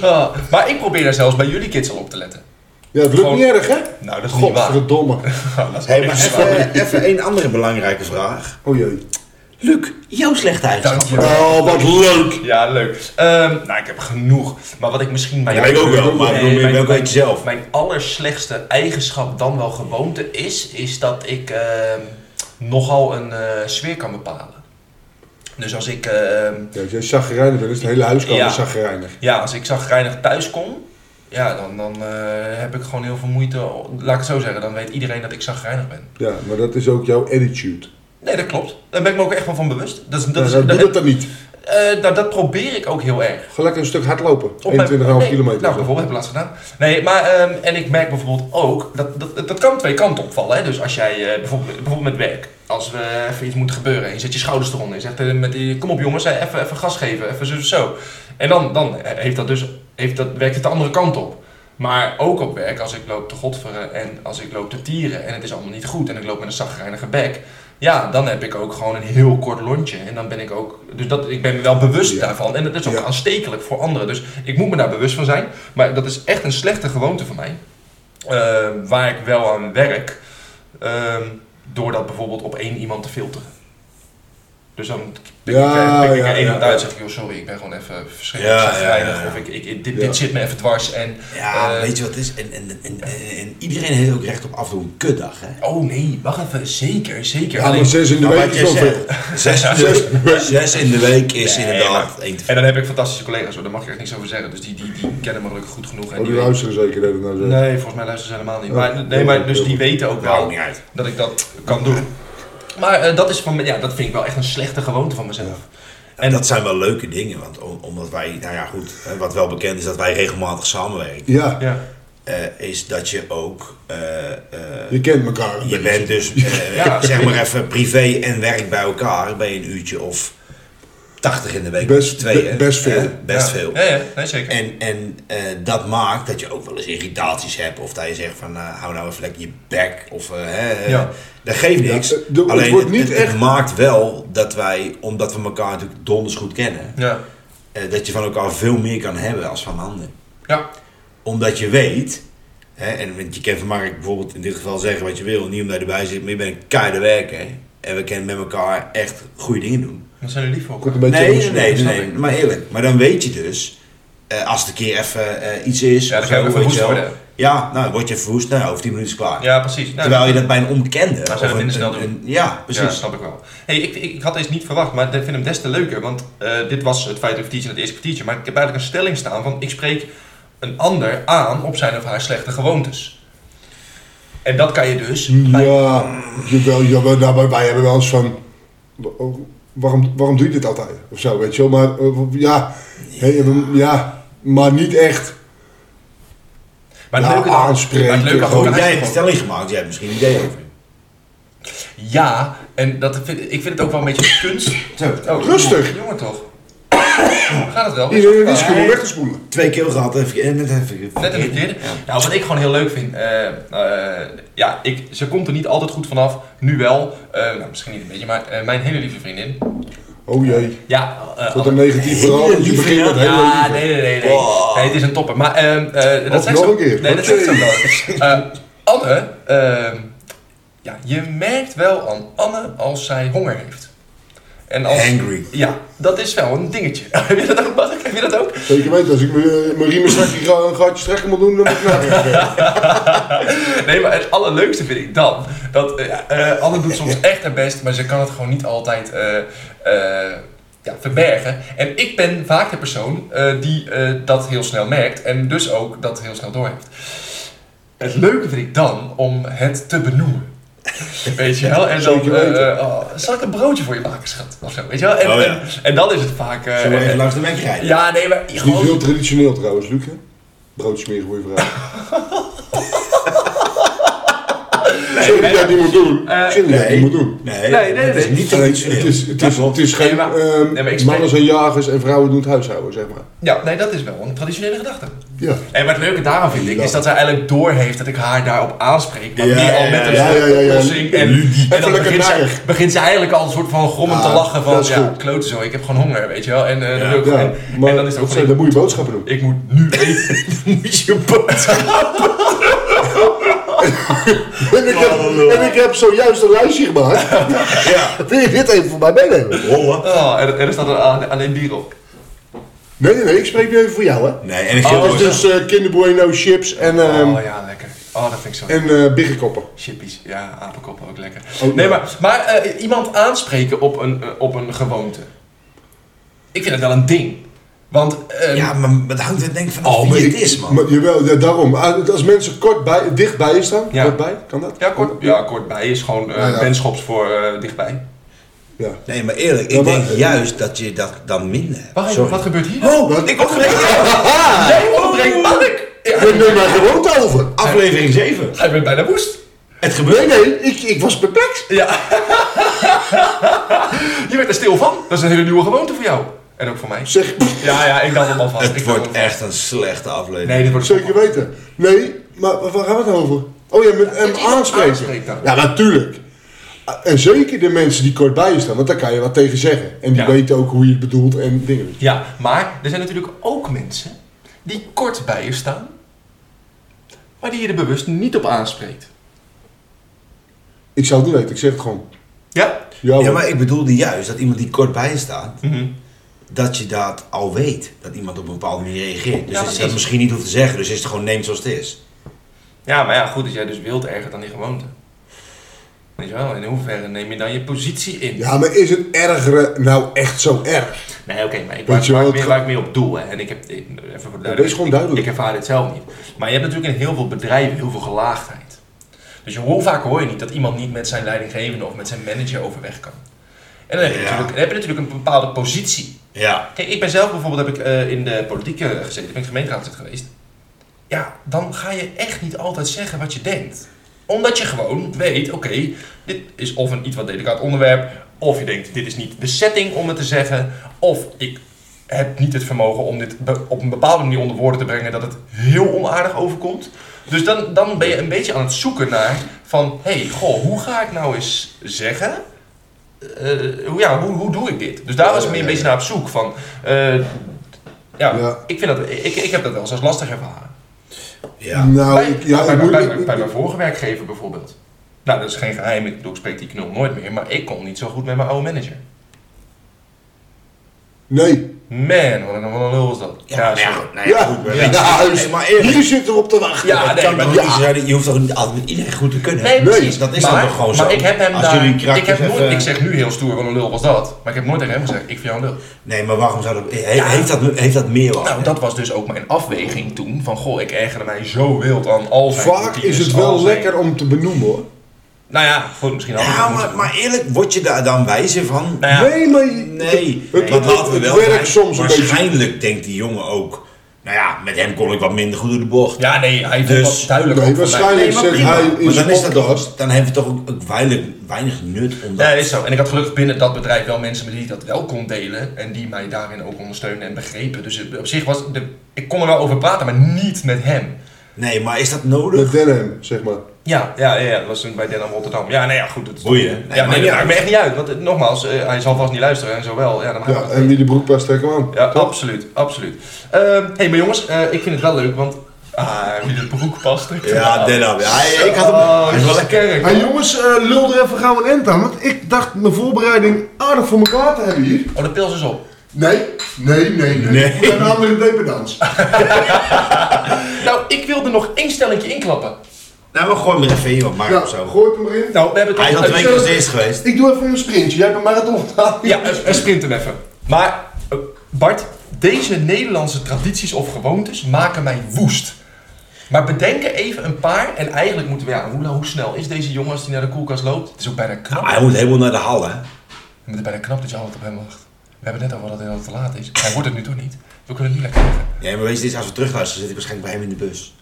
Speaker 1: Ah, maar ik probeer daar zelfs bij jullie kids al op te letten.
Speaker 2: Ja, het lukt
Speaker 1: Gewoon-
Speaker 2: niet erg, hè?
Speaker 1: Nou, dat is niet waar.
Speaker 2: Godverdomme.
Speaker 3: Hey, (laughs) maar even, even een andere belangrijke vraag.
Speaker 2: Oh jee.
Speaker 3: Luc, jouw slechte
Speaker 1: Dank
Speaker 3: eigenschappen.
Speaker 1: je.
Speaker 2: Oh, wat leuk.
Speaker 1: Ja, leuk. Ehm, nou, ik heb genoeg. Maar wat ik misschien bij
Speaker 3: Ja,
Speaker 1: jou-
Speaker 3: ik ook wel, maar ik bedoel,
Speaker 1: mijn-
Speaker 3: welke
Speaker 1: mijn-
Speaker 3: weet je zelf?
Speaker 1: Mijn allerslechtste eigenschap dan wel gewoonte is, is dat ik ehm, nogal een eh, sfeer kan bepalen. Dus als ik, ehm,
Speaker 2: Ja, als jij chagrijnig bent, is het hele huis
Speaker 1: Ja.
Speaker 2: ja. chagrijnig.
Speaker 1: ja, als ik zagrijnig thuis kom, ja, dan, dan eh, heb ik gewoon heel veel moeite. Laat ik het zo zeggen, dan weet iedereen dat ik zagrijnig ben.
Speaker 2: Ja, maar dat is ook jouw attitude.
Speaker 1: Nee, dat klopt. Daar ben ik me ook echt van, van bewust. Dat, is- dat,
Speaker 2: Dat
Speaker 1: is,
Speaker 2: doe
Speaker 1: dat,
Speaker 2: dat dan niet.
Speaker 1: eh, nou, dat probeer ik ook heel erg.
Speaker 2: Gewoon lekker een stuk hardlopen. 21,5
Speaker 1: Op mijn- nee,
Speaker 2: kilometer.
Speaker 1: Nou, bijvoorbeeld, heb ik laatst gedaan. Nee, maar, ehm, en ik merk bijvoorbeeld ook, dat, dat, dat kan twee kanten opvallen. Hè? Dus als jij, eh, bijvoorbeeld, bijvoorbeeld met werk, als we even iets moet gebeuren en je zet je schouders eronder. Je zegt, eh, met, die- kom op jongens, hè, even, even gas geven, even zo, zo. En dan, dan eh, heeft dat dus, heeft dat, werkt het de andere kant op. Maar ook op werk, als ik loop te godveren en als ik loop te tieren en het is allemaal niet goed en ik loop met een zagrijnige bek. Ja, dan heb ik ook gewoon een heel kort lontje. En dan ben ik ook. Dus dat, ik ben me wel bewust
Speaker 2: Ja.
Speaker 1: daarvan. En dat is ook
Speaker 2: Ja.
Speaker 1: aanstekelijk voor anderen. Dus ik moet me daar bewust van zijn. Maar dat is echt een slechte gewoonte van mij. Eh, waar ik wel aan werk. ehm, door dat bijvoorbeeld op één iemand te filteren. Dus dan pik ik,
Speaker 2: Ja,
Speaker 1: eh, pik ik
Speaker 2: ja,
Speaker 1: er één
Speaker 2: ja,
Speaker 1: iemand
Speaker 2: ja.
Speaker 1: uit en zeg ik, joh, sorry, ik ben gewoon even verschrikkelijk
Speaker 3: Ja, ja,
Speaker 1: zagrijnig.
Speaker 3: ja, ja.
Speaker 1: Of ik, ik, dit,
Speaker 2: Ja.
Speaker 1: dit zit me even dwars. En,
Speaker 3: Ja,
Speaker 1: eh,
Speaker 3: weet je wat het is? En, en, en, en, en iedereen heeft ook recht op af en toe een kutdag, hè?
Speaker 1: Oh nee, wacht even. Zeker, zeker.
Speaker 2: Ja,
Speaker 1: Alleen-
Speaker 2: maar zes in de
Speaker 3: Maar
Speaker 2: week
Speaker 3: wat
Speaker 2: is
Speaker 3: je
Speaker 2: wel veel.
Speaker 3: zegt, Zes, zes, zes in de week is
Speaker 1: Nee,
Speaker 3: inderdaad
Speaker 1: maar-
Speaker 3: één te
Speaker 1: En dan heb ik fantastische collega's hoor, daar mag ik echt niks over zeggen. Dus die, die, die kennen me gelukkig goed genoeg. En
Speaker 2: Oh, die
Speaker 1: weten-
Speaker 2: luisteren zeker dat het nou zo.
Speaker 1: Nee, volgens mij luisteren ze helemaal niet.
Speaker 2: Oh,
Speaker 1: Maar, nee,
Speaker 2: heel
Speaker 1: maar
Speaker 2: goed,
Speaker 1: dus
Speaker 2: heel
Speaker 1: die
Speaker 2: goed.
Speaker 1: weten ook
Speaker 3: Maakt
Speaker 1: wel
Speaker 3: niet uit.
Speaker 1: dat ik dat kan doen. Maar eh, dat, is van, ja, dat vind ik wel echt een slechte gewoonte van mezelf.
Speaker 3: En dat zijn wel leuke dingen, want om- omdat wij, nou ja goed, hè, wat wel bekend is dat wij regelmatig samenwerken,
Speaker 2: Ja,
Speaker 1: Ja.
Speaker 3: eh, is dat je ook, eh, eh,
Speaker 2: je kent elkaar.
Speaker 3: je bent dus,
Speaker 1: (laughs)
Speaker 3: eh,
Speaker 1: Ja.
Speaker 3: zeg maar even privé en werk bij elkaar, bij een uurtje of 80 in de week,
Speaker 2: Best-
Speaker 3: met z'n tweeën,
Speaker 2: be- best
Speaker 3: hè, Eh,
Speaker 2: veel.
Speaker 3: best
Speaker 1: Ja.
Speaker 3: veel.
Speaker 1: Ja, ja, nee, zeker.
Speaker 3: En, en eh, dat maakt dat je ook wel eens irritaties hebt. Of dat je zegt van, eh, hou nou even lekker je bek. Of, eh, hè,
Speaker 1: Ja.
Speaker 3: dat geeft niks.
Speaker 2: Ja, eh, de- het
Speaker 3: Alleen
Speaker 2: wordt niet
Speaker 3: het,
Speaker 2: echt-
Speaker 3: maakt wel dat wij, omdat we elkaar natuurlijk donders goed kennen,
Speaker 1: ja.
Speaker 3: eh, dat je van elkaar veel meer kan hebben als van anderen.
Speaker 1: ja,
Speaker 3: Omdat je weet, hè, en want je kan van Mark bijvoorbeeld in dit geval zeggen wat je wil, niet omdat je erbij zit, maar je bent een keiharde werker. En we kunnen met elkaar echt goede dingen doen.
Speaker 1: dat zijn er lief voor.
Speaker 2: Komt een beetje
Speaker 3: Nee, nee,
Speaker 2: emotioneel.
Speaker 3: nee,
Speaker 1: snap
Speaker 3: nee,
Speaker 1: ik.
Speaker 3: maar eerlijk. Maar dan weet je dus, eh, als het een keer even eh, iets is,
Speaker 1: Ja, dan
Speaker 3: of
Speaker 1: ga je
Speaker 3: zo,
Speaker 1: ook
Speaker 3: weet
Speaker 1: verwoest
Speaker 3: je wel.
Speaker 1: worden.
Speaker 3: Ja, nou, word je verwoest, nou, over 10 minuten is het klaar.
Speaker 1: Ja, precies. Nou,
Speaker 3: Terwijl je dat bij een onbekende.
Speaker 1: zou je dat
Speaker 3: een,
Speaker 1: minder snel
Speaker 3: een-
Speaker 1: doen.
Speaker 3: een- ja,
Speaker 1: Precies. Ja,
Speaker 3: precies.
Speaker 1: snap ik wel. Hey, ik, ik, ik had deze niet verwacht, maar ik vind hem des te leuker. Want eh, dit was het feit of teacher, het eerste kwartiertje. Maar ik heb eigenlijk een stelling staan van... ik spreek een ander aan op zijn of haar slechte gewoontes. En dat kan je dus... bij-
Speaker 2: Ja, jawel, jawel, nou, maar wij hebben wel eens van. wa- Waarom, waarom doe je dit altijd? Of zo, weet je wel. Maar eh, ja, hè, ja, dan- ja, maar niet echt.
Speaker 1: maar het
Speaker 2: Ja,
Speaker 1: leuke dan-
Speaker 2: aanspreken,
Speaker 1: maar het leuke
Speaker 2: gewoon
Speaker 1: dan-
Speaker 3: Goed, nou, jij hebt een stelling gemaakt, jij hebt misschien een idee over.
Speaker 1: Ja, en dat vind, ik vind het ook wel een beetje (coughs) kunst.
Speaker 3: Zo,
Speaker 1: Oh,
Speaker 2: Rustig.
Speaker 1: Jongen toch. (coughs) Gaat het wel?
Speaker 2: Iedereen in de disco om weg te spoelen.
Speaker 3: twee keer gehad, even, en net even.
Speaker 1: Net een verkeerde. Nou, wat ik gewoon heel leuk vind, eh, eh, ja, ik, ze komt er niet altijd goed vanaf, nu wel. Eh, nou, misschien niet een beetje, maar eh, mijn hele lieve vriendin.
Speaker 2: Oh jee.
Speaker 1: Ja, eh,
Speaker 2: Wat
Speaker 1: Anne-
Speaker 2: een negatief verhaal. want Je
Speaker 3: lieve
Speaker 2: begint met
Speaker 3: jongen.
Speaker 2: hele
Speaker 1: ja,
Speaker 2: lieve.
Speaker 1: nee, nee, nee, nee.
Speaker 3: Wow.
Speaker 1: Nee, het is een topper. Maar ehm, eh, dat
Speaker 2: Of
Speaker 1: zegt
Speaker 2: nog
Speaker 1: ze-
Speaker 2: een keer.
Speaker 1: Nee, dat
Speaker 2: Oké.
Speaker 1: zegt ze ook wel. Eh, Anne, ehm, ja, je merkt wel aan Anne als zij honger heeft. En als,
Speaker 3: Hangry.
Speaker 1: Ja, dat is wel een dingetje. (laughs) Heb je dat ook, Mark? Heb je dat ook?
Speaker 2: Zeker weten, als ik mijn eh, mijn riemen straks hier een gaatje strekken moet doen, dan moet ik naar
Speaker 1: (laughs)
Speaker 2: weg.
Speaker 1: Nee, maar het allerleukste vind ik dan dat eh, ja, eh, Anne doet soms echt haar best, maar ze kan het gewoon niet altijd eh, eh, ja, verbergen. En ik ben vaak de persoon eh, die eh, dat heel snel merkt en dus ook dat heel snel doorheeft. Het leuke vind ik dan om het te benoemen. Weet je wel? En dan,
Speaker 2: Zeker weten.
Speaker 1: eh, oh, zal ik een broodje voor je maken, schat? Of zo, weet je wel? En,
Speaker 3: Oh ja.
Speaker 1: en, en dan is het vaak... eh,
Speaker 3: Zullen we even
Speaker 1: eh,
Speaker 3: langs de weg rijden?
Speaker 1: ja, nee, maar
Speaker 2: is niet
Speaker 1: gewoon...
Speaker 2: heel traditioneel trouwens, Luc. hè? Brood smeren voor je vrouw.
Speaker 1: (laughs)
Speaker 2: Sorry dat ik dat niet moet doen.
Speaker 1: Eh,
Speaker 2: Sorry dat ik dat
Speaker 3: nee.
Speaker 2: niet moet doen.
Speaker 3: Nee,
Speaker 1: Nee, nee,
Speaker 3: dat is
Speaker 1: nee.
Speaker 3: niet
Speaker 2: Alleen, het
Speaker 3: traditioneel.
Speaker 2: is, het is, het is
Speaker 1: Nee,
Speaker 2: geen
Speaker 1: maar-
Speaker 2: ehm,
Speaker 1: nee, maar ik spreek-
Speaker 2: mannen zijn jagers en vrouwen doen het huishouden, zeg maar.
Speaker 1: Ja, nee, dat is wel een traditionele gedachte.
Speaker 2: Ja.
Speaker 1: En wat het leuke daarvan vind ik, is dat zij eigenlijk doorheeft dat ik haar daarop aanspreek. Maar
Speaker 3: Ja,
Speaker 1: meer al
Speaker 3: ja,
Speaker 1: met een
Speaker 2: ja,
Speaker 1: soort
Speaker 2: ja, ja, ja.
Speaker 1: oplossing. En,
Speaker 2: Ludiek.
Speaker 1: en dan
Speaker 2: Even lekker
Speaker 1: begint zij,
Speaker 2: narig.
Speaker 1: begint zij eigenlijk al een soort van grommend te
Speaker 2: Ah,
Speaker 1: lachen van...
Speaker 2: dat is
Speaker 1: Ja,
Speaker 2: goed.
Speaker 1: klote zo, ik heb gewoon honger, weet je wel. En, eh, dan
Speaker 3: Ja.
Speaker 1: wil ik
Speaker 2: Ja,
Speaker 1: gewoon-
Speaker 2: maar
Speaker 1: en dan is het ook
Speaker 2: zo,
Speaker 1: van,
Speaker 2: dan moet je boodschappen
Speaker 1: (laughs)
Speaker 2: doen.
Speaker 1: ik moet
Speaker 2: (laughs)
Speaker 1: nu eten.
Speaker 3: Moet je boodschap.
Speaker 2: En ik, heb, en ik heb zojuist een lijstje
Speaker 1: (laughs)
Speaker 2: gemaakt.
Speaker 3: Ja.
Speaker 2: Wil je dit even voor mij meenemen?
Speaker 3: Rollen.
Speaker 1: Oh, en, en er staat een- alleen bier op.
Speaker 2: Nee, nee, nee, ik spreek nu even voor jou, hè.
Speaker 3: Nee, en ik
Speaker 1: Oh,
Speaker 3: geel
Speaker 2: Dat is dus eh Kinder Bueno, chips en, ehm
Speaker 1: Oh ja, lekker. Oh, dat vind ik zo.
Speaker 2: en eh biggenkoppen.
Speaker 1: Chippies, ja, apenkoppen ook lekker.
Speaker 2: Ook
Speaker 1: nee,
Speaker 2: nog.
Speaker 1: maar, maar eh, iemand aanspreken op een, eh, op een gewoonte. Ik vind het wel een ding. Want eh,
Speaker 3: Ja, maar dat hangt er denk ik vanaf
Speaker 2: Oh,
Speaker 3: wie
Speaker 2: maar
Speaker 3: het
Speaker 2: ik-
Speaker 3: is, man.
Speaker 2: Maar, jawel, ja, daarom. Ah, Als mensen kort bij, dichtbij je staan,
Speaker 1: Ja.
Speaker 2: kort bij, kan dat?
Speaker 1: Ja, kort, ja, kort bij is gewoon eh
Speaker 2: Ja, ja.
Speaker 1: wenschops voor eh, dichtbij.
Speaker 2: Ja.
Speaker 3: Nee, maar eerlijk, ik
Speaker 2: Ja, maar-
Speaker 3: denk juist dat je dat dan minder hebt.
Speaker 1: Wacht even,
Speaker 3: Sorry.
Speaker 1: wat gebeurt hier?
Speaker 3: Oh,
Speaker 2: Wat?
Speaker 3: ik onderbreek jou.
Speaker 1: Nee, onderbreng Mark! Ja,
Speaker 2: We nemen daar gewoonte over.
Speaker 1: Ah,
Speaker 3: Aflevering 7.
Speaker 1: Hij bent bijna woest.
Speaker 3: Het
Speaker 2: Nee,
Speaker 3: gebeurt.
Speaker 2: nee, ik, ik was perplex.
Speaker 1: Ja. (laughs) Je werd er stil van. Dat is een hele nieuwe gewoonte voor jou. En ook voor mij.
Speaker 2: Zeg, pff,
Speaker 1: Ja, ja, ik dacht het al vast.
Speaker 3: Het
Speaker 1: Ik
Speaker 3: wordt
Speaker 1: dacht al vast.
Speaker 3: echt een slechte aflevering.
Speaker 1: Nee, dit wordt
Speaker 2: zeker weten. Nee, maar waar gaan we het over? Oh ja, met hem
Speaker 1: iemand
Speaker 2: aanspreken.
Speaker 1: aanspreekt dan.
Speaker 2: Ja, natuurlijk. Eh, En zeker de mensen die kort bij je staan, want daar kan je wat tegen zeggen. En die
Speaker 1: Ja.
Speaker 2: weten ook hoe je het bedoelt en dingen.
Speaker 1: Ja, maar er zijn natuurlijk ook mensen die kort bij je staan, maar die je er bewust niet op aanspreekt.
Speaker 2: Ik zou het niet weten, ik zeg het gewoon.
Speaker 1: Ja?
Speaker 2: Ja,
Speaker 3: Ja,
Speaker 2: hoor.
Speaker 3: maar ik bedoelde juist dat iemand die kort bij je staat,
Speaker 1: Mhm.
Speaker 3: dat je dat al weet. Dat iemand op een bepaalde manier reageert. Dus
Speaker 1: Ja,
Speaker 3: dat je dat
Speaker 1: precies.
Speaker 3: misschien niet hoeft te zeggen. Dus is het gewoon neemt zoals het is.
Speaker 1: Ja, maar ja, goed, als jij dus wilt erger dan die gewoonte. Weet je wel, in hoeverre neem je dan je positie in?
Speaker 2: Ja, maar is het ergere nou echt zo erg?
Speaker 1: Nee, oké, maar ik
Speaker 2: Weet
Speaker 1: waar,
Speaker 2: je
Speaker 1: waar,
Speaker 2: wel,
Speaker 1: ik meer,
Speaker 2: het
Speaker 1: waar ik meer op doel, hè, en ik heb, ik- even voor de
Speaker 2: Dat is gewoon
Speaker 1: ik-
Speaker 2: duidelijk.
Speaker 1: Ik, ervaar dit zelf niet. Maar je hebt natuurlijk in heel veel bedrijven heel veel gelaagdheid. Dus je, hoe vaak hoor je niet dat iemand niet met zijn leidinggevende of met zijn manager overweg kan? En dan heb je,
Speaker 3: Ja.
Speaker 1: natuurlijk, dan heb je natuurlijk een bepaalde positie.
Speaker 3: Ja.
Speaker 1: Kijk, ik ben zelf bijvoorbeeld heb ik, eh, in de politiek eh, gezeten, ben ik gemeenteraadslid geweest. Ja, dan ga je echt niet altijd zeggen wat je denkt. Omdat je gewoon weet, oké, dit is of een iets wat delicaat onderwerp, of je denkt, dit is niet de setting om het te zeggen, of ik heb niet het vermogen om dit be- op een bepaalde manier onder woorden te brengen dat het heel onaardig overkomt. Dus dan, dan ben je een beetje aan het zoeken naar van, hé, hey, goh, hoe ga ik nou eens zeggen eh, hoe, ja, hoe, hoe doe ik dit? Dus daar was ik meer een beetje naar op zoek. Van, eh, ja,
Speaker 2: Ja.
Speaker 1: Ik, vind dat, ik, ik heb dat wel eens als lastig ervaren.
Speaker 3: Ja.
Speaker 2: Nou,
Speaker 1: bij,
Speaker 2: ik, ja,
Speaker 1: bij,
Speaker 2: ik
Speaker 1: bij,
Speaker 2: moet...
Speaker 1: bij, bij mijn vorige werkgever bijvoorbeeld. Nou, dat is geen geheim. Ik, bedoel, ik spreek die knul nooit meer. Maar ik kon niet zo goed met mijn oude manager.
Speaker 2: Nee.
Speaker 1: Man, wat een, wat een lul was dat.
Speaker 3: Ja, maar ja,
Speaker 1: sorry.
Speaker 3: nou ja,
Speaker 2: Ja,
Speaker 3: goed. maar
Speaker 2: ja,
Speaker 3: weet je,
Speaker 2: dus
Speaker 3: maar eerlijk.
Speaker 2: hier zit erop te wachten.
Speaker 1: Ja,
Speaker 3: dat
Speaker 1: nee,
Speaker 3: kan
Speaker 1: maar-
Speaker 3: toch niet
Speaker 2: ja.
Speaker 3: zeggen, je hoeft toch niet altijd met iedereen goed te kunnen.
Speaker 1: Nee,
Speaker 2: Nee,
Speaker 1: precies.
Speaker 3: dat is dan
Speaker 1: maar,
Speaker 3: toch gewoon
Speaker 1: maar
Speaker 3: zo?
Speaker 1: ik heb hem
Speaker 3: Als
Speaker 1: daar...
Speaker 3: jullie
Speaker 1: Ik, heb
Speaker 3: krakjes
Speaker 1: nooit,
Speaker 3: even-
Speaker 1: ik zeg nu heel stoer, wat een lul was dat. Maar ik heb nooit tegen hem gezegd, ik vind jou een lul.
Speaker 3: Nee, maar waarom zou dat... he- Heeft dat, heeft dat meer wat?
Speaker 1: Nou, dat was dus ook mijn afweging toen. Van, goh, ik ergerde mij zo wild aan al zijn
Speaker 2: Vaak
Speaker 1: routines,
Speaker 2: is het
Speaker 1: al
Speaker 2: wel
Speaker 1: zijn-
Speaker 2: lekker om te benoemen hoor.
Speaker 1: Nou ja, goed, misschien hadden we
Speaker 3: Ja,
Speaker 1: het
Speaker 3: maar,
Speaker 1: moeten
Speaker 3: Nou, maar eerlijk, word je daar dan wijzer van?
Speaker 1: Nou ja.
Speaker 2: Nee, maar... je-
Speaker 3: Nee,
Speaker 2: Het,
Speaker 3: want
Speaker 2: het, het,
Speaker 3: laten we wel
Speaker 2: het werkt
Speaker 3: zijn,
Speaker 2: soms een beetje.
Speaker 3: Waarschijnlijk denkt die jongen ook... Nou ja, met hem kon ik wat minder goed door de bocht.
Speaker 1: Ja, nee, hij vond
Speaker 3: Dus-
Speaker 1: dat duidelijk
Speaker 2: Nee,
Speaker 1: ook voor mij.
Speaker 2: waarschijnlijk
Speaker 3: maar
Speaker 2: zegt
Speaker 3: prima.
Speaker 2: hij in
Speaker 3: Maar dan,
Speaker 2: zijn
Speaker 3: is dat
Speaker 2: podcast...
Speaker 3: toch, dan heeft het toch ook, ook weinig, weinig nut om dat...
Speaker 1: Ja, is zo. En ik had gelukkig binnen dat bedrijf wel mensen met wie ik dat wel kon delen. En die mij daarin ook ondersteunen en begrepen. Dus op zich was... De, ik kon er wel over praten, maar niet met hem.
Speaker 3: Nee, maar is dat
Speaker 2: Met
Speaker 3: nodig?
Speaker 2: Denham, zeg maar.
Speaker 1: Ja, ja, ja, ja, dat was toen bij Den Haag Rotterdam. Ja, nee, ja, goed. Dat,
Speaker 3: Boeien. Nee,
Speaker 1: ja, nee,
Speaker 3: maakt niet
Speaker 1: dat maakt
Speaker 3: uit.
Speaker 1: me echt niet uit. Want eh, nogmaals, eh, hij zal vast niet luisteren en zo wel. Ja, dan maakt
Speaker 2: Ja,
Speaker 1: het
Speaker 2: en wie de broek past, trek hem aan.
Speaker 1: Ja,
Speaker 2: Toch?
Speaker 1: absoluut, absoluut. Ehm, hey, maar jongens, eh, ik vind het wel leuk, want... Ah, wie de broek past. (laughs) trekt hem
Speaker 3: Ja,
Speaker 1: aan.
Speaker 3: Denham. Ja, hij- ik had hem...
Speaker 1: Oh,
Speaker 3: hij is wel
Speaker 1: dat is
Speaker 3: lekker.
Speaker 1: kerk.
Speaker 2: Maar jongens, eh, lul er even gauw een end aan. Want ik dacht mijn voorbereiding aardig voor elkaar te hebben hier.
Speaker 1: Oh, de pils is op.
Speaker 2: Nee, nee, nee, nee.
Speaker 3: Nee.
Speaker 2: We gaan namelijk een dependans.
Speaker 1: Nou, ik wilde nog één stelletje inklappen.
Speaker 3: Nou, we gooien hem er even in, wat maakt
Speaker 2: Ja,
Speaker 3: of zo.
Speaker 2: gooi hem erin.
Speaker 1: Nou, we hebben
Speaker 3: Hij is al
Speaker 1: het
Speaker 3: twee keer als eerste geweest.
Speaker 2: Ik doe even een sprintje. Jij hebt een marathon gedaan. (laughs)
Speaker 1: Ja, eh, eh, sprint hem even. Maar, eh, Bart, deze Nederlandse tradities of gewoontes maken mij woest. Maar bedenk er even een paar. En eigenlijk moeten we, ja, hoe, nou, hoe snel is deze jongen als hij naar de koelkast loopt? Het is ook bijna knap.
Speaker 3: Maar hij moet helemaal naar de hal, hè?
Speaker 1: Het is bijna knap dat je altijd op hem wacht. We hebben net over dat het al te laat is. Hij wordt het nu toch niet. We kunnen het nu lekker even.
Speaker 3: Ja, maar weet je, dit is, als we terugluisteren, zit ik waarschijnlijk bij hem in de bus.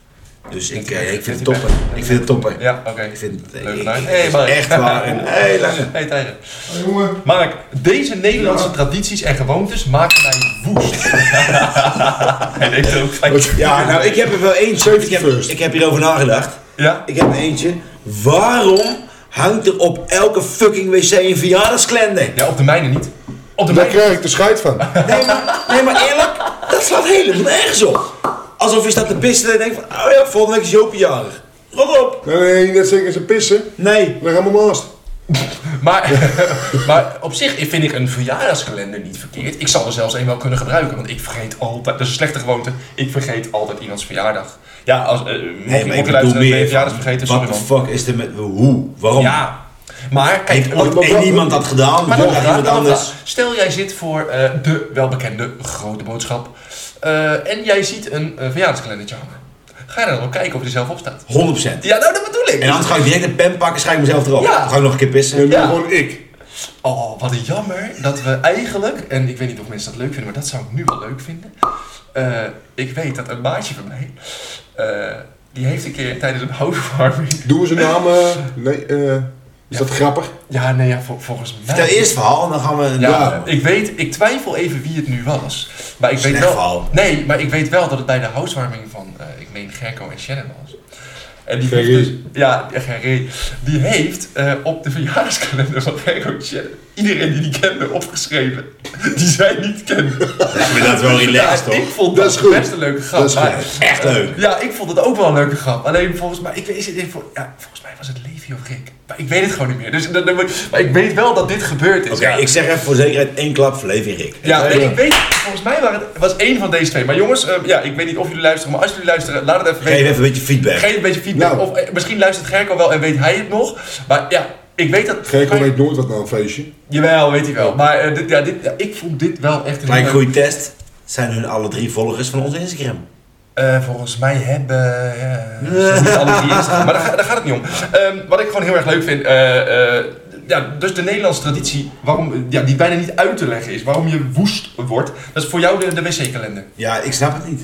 Speaker 3: Dus ik,
Speaker 1: hij-
Speaker 3: eh, ik vind het
Speaker 1: dat hij
Speaker 3: topper.
Speaker 1: bij-
Speaker 3: Ik vind het topper.
Speaker 1: Ja, oké.
Speaker 3: Ik vind het
Speaker 1: Leuk
Speaker 3: ik-
Speaker 1: gedaan.
Speaker 3: ik-
Speaker 1: Hey,
Speaker 3: het is
Speaker 1: Mark.
Speaker 3: echt
Speaker 1: (laughs)
Speaker 3: waar. Een hele lange-
Speaker 1: Hey Tijger.
Speaker 2: jongen.
Speaker 1: Mark, deze Nederlandse tradities en gewoontes maken mij woest. (laughs) Hij leeft er ook vijf.
Speaker 3: Ja, nou, ik heb er wel eentje. Ik heb,
Speaker 2: first.
Speaker 3: ik heb hierover nagedacht.
Speaker 1: Ja?
Speaker 3: Ik heb er eentje. Waarom hangt er op elke fucking wc een verjaardagsklender?
Speaker 1: Ja, op de mijne niet. Op de
Speaker 2: Daar
Speaker 1: mijne.
Speaker 2: krijg ik de scheid van.
Speaker 3: Nee, maar, nee, maar eerlijk, dat slaat helemaal nergens op. Alsof je staat te pissen en denkt van, oh ja, volgende week is Jopie jarig. Rot
Speaker 2: (laughs)
Speaker 3: op.
Speaker 2: Nee, nee, net zeker ze pissen.
Speaker 3: Nee.
Speaker 2: Dan gaan we naast.
Speaker 1: Maar, (laughs) maar op zich vind ik een verjaardagskalender niet verkeerd. Ik zal er zelfs een wel kunnen gebruiken, want ik vergeet altijd. Dat is een slechte gewoonte. Ik vergeet altijd iemands verjaardag. Ja, als. eh, mocht je-
Speaker 3: Nee,
Speaker 1: mocht
Speaker 3: maar
Speaker 1: je
Speaker 3: ik bedoel
Speaker 1: luisteren, ben je
Speaker 3: meer
Speaker 1: verjaardag vergeten.
Speaker 3: Wat
Speaker 1: Sorry
Speaker 3: de
Speaker 1: man.
Speaker 3: fuck is er met, hoe, waarom?
Speaker 1: Ja, maar kijk,
Speaker 3: Heeft
Speaker 1: want-
Speaker 3: ooit één iemand dat gedaan,
Speaker 1: Maar
Speaker 3: maar dan
Speaker 1: dat
Speaker 3: iemand
Speaker 1: gaat
Speaker 3: anders.
Speaker 1: Stel jij zit voor eh, de welbekende grote boodschap eh, en jij ziet een eh, verjaardagskalendertje hangen. Ga je dan ook kijken of die zelf op staat?
Speaker 3: 100%.
Speaker 1: Ja, nou dat bedoel ik.
Speaker 3: En anders ga ik direct een pen pakken, schrijf ik mezelf erop.
Speaker 1: Ja.
Speaker 3: Dan ga ik nog een keer pissen.
Speaker 2: En dan
Speaker 1: Ja.
Speaker 2: gewoon ik.
Speaker 1: Oh, wat jammer dat we eigenlijk, en ik weet niet of mensen dat leuk vinden, maar dat zou ik nu wel leuk vinden. Eh, ik weet dat een maatje van mij, eh, die heeft een keer tijdens een housewarming...
Speaker 2: Doen ze naam. eh, nee, eh, is dat grappig?
Speaker 1: Ja, nee, ja, vol- volgens mij...
Speaker 3: Vertel eerst het verhaal en dan gaan we...
Speaker 1: Ja,
Speaker 2: Ja.
Speaker 1: ik weet, ik twijfel even wie het nu was. Maar ik weet
Speaker 3: Slecht
Speaker 1: wel,
Speaker 3: verhaal.
Speaker 1: Nee, maar ik weet wel dat het bij de housewarming van, eh, ik meen Gerco en Shannon was. En die heeft
Speaker 2: Gerrie.
Speaker 1: dus, ja, Gerrie, die heeft eh, op de verjaardagskalender van Gerco en Shannon iedereen die die kende opgeschreven. Die zij niet kende.
Speaker 3: Ik vind dat wel relaxed,
Speaker 1: Ja, ik
Speaker 3: toch?
Speaker 1: vond
Speaker 2: Dat
Speaker 1: dat,
Speaker 2: is goed.
Speaker 1: best een leuke grap.
Speaker 2: Dat is
Speaker 1: maar-
Speaker 2: goed.
Speaker 3: Echt leuk.
Speaker 1: ja, ik vond het ook wel een leuke grap. Alleen volgens mij, ik weet, is het, vol- ja, volgens mij was het Levi of Rick. Maar ik weet het gewoon niet meer. Dus, dat- dat- maar ik weet wel dat dit gebeurd is.
Speaker 3: Oké,
Speaker 1: Ja.
Speaker 3: ik zeg even voor zekerheid één klap voor Levi Rick.
Speaker 1: Ja,
Speaker 2: Ja,
Speaker 1: nee,
Speaker 2: ja.
Speaker 1: ik weet, volgens mij waren het, was één van deze twee. Maar jongens, eh, ja, ik weet niet of jullie luisteren, maar als jullie luisteren, laat het even
Speaker 3: Geef
Speaker 1: weten.
Speaker 3: even een beetje feedback.
Speaker 1: Geef een beetje feedback.
Speaker 2: Nou.
Speaker 1: Of eh, misschien luistert Gerco wel en weet hij het nog. Maar ja, ik weet dat.
Speaker 2: Gerko weet nooit wat na een feestje.
Speaker 1: Jawel, weet hij wel. Maar eh, dit, ja, dit, ja, ik vond dit wel echt een.
Speaker 3: Mijn
Speaker 1: heel
Speaker 3: goede test zijn hun alle drie volgers van onze Instagram.
Speaker 1: leuk- Eh, volgens mij hebben. eh, ze hebben niet alle drie Instagram, maar daar, ga- daar gaat het niet om. Ehm, wat ik gewoon heel erg leuk vind. eh, eh, ja, dus de Nederlandse traditie, waarom, eh, ja, die bijna niet uit te leggen is, waarom je woest wordt, dat is voor jou de, de wc-kalender.
Speaker 3: Ja, ik snap het niet.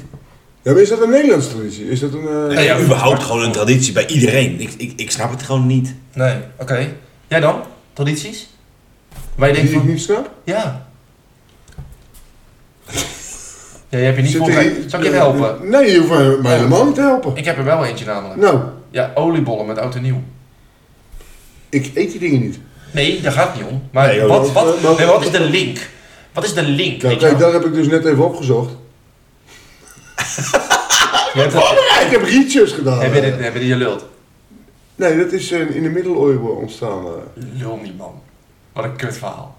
Speaker 2: Ja, maar is dat een Nederlandse traditie? Is dat een. eh,
Speaker 3: Nee,
Speaker 1: ja,
Speaker 3: Nou überhaupt gewoon een traditie bij iedereen. Ik, ik, ik snap het gewoon niet.
Speaker 1: Nee, oké. Jij dan? Tradities? Waar je denkt
Speaker 2: die ik
Speaker 1: van,
Speaker 2: niet snap?
Speaker 1: ja. Ja, jij hebt je niet
Speaker 2: Zit
Speaker 1: voorbereid.
Speaker 2: er-
Speaker 1: Zal ik je even helpen?
Speaker 2: Nee, je hoeft mij mij helemaal niet te helpen.
Speaker 1: Ik heb er wel eentje namelijk.
Speaker 2: Nou,
Speaker 1: Ja, oliebollen met oud en nieuw.
Speaker 2: ik eet die dingen niet.
Speaker 1: Nee, daar gaat het niet om. Maar
Speaker 3: Nee, joh,
Speaker 1: wat,
Speaker 2: dat-
Speaker 1: wat,
Speaker 2: dat- dat-
Speaker 1: nee, wat is de link? Wat is de link?
Speaker 2: Nou,
Speaker 1: weet je wel?
Speaker 2: kijk, daar heb ik dus net even opgezocht.
Speaker 1: Je hebt het-
Speaker 2: Ik heb rietjes gedaan.
Speaker 1: Heb je dit- heb je die je lult?
Speaker 2: Nee, dat is eh, in de middeleeuwen ontstaan. eh.
Speaker 1: Lul niet, man. Wat een kut verhaal.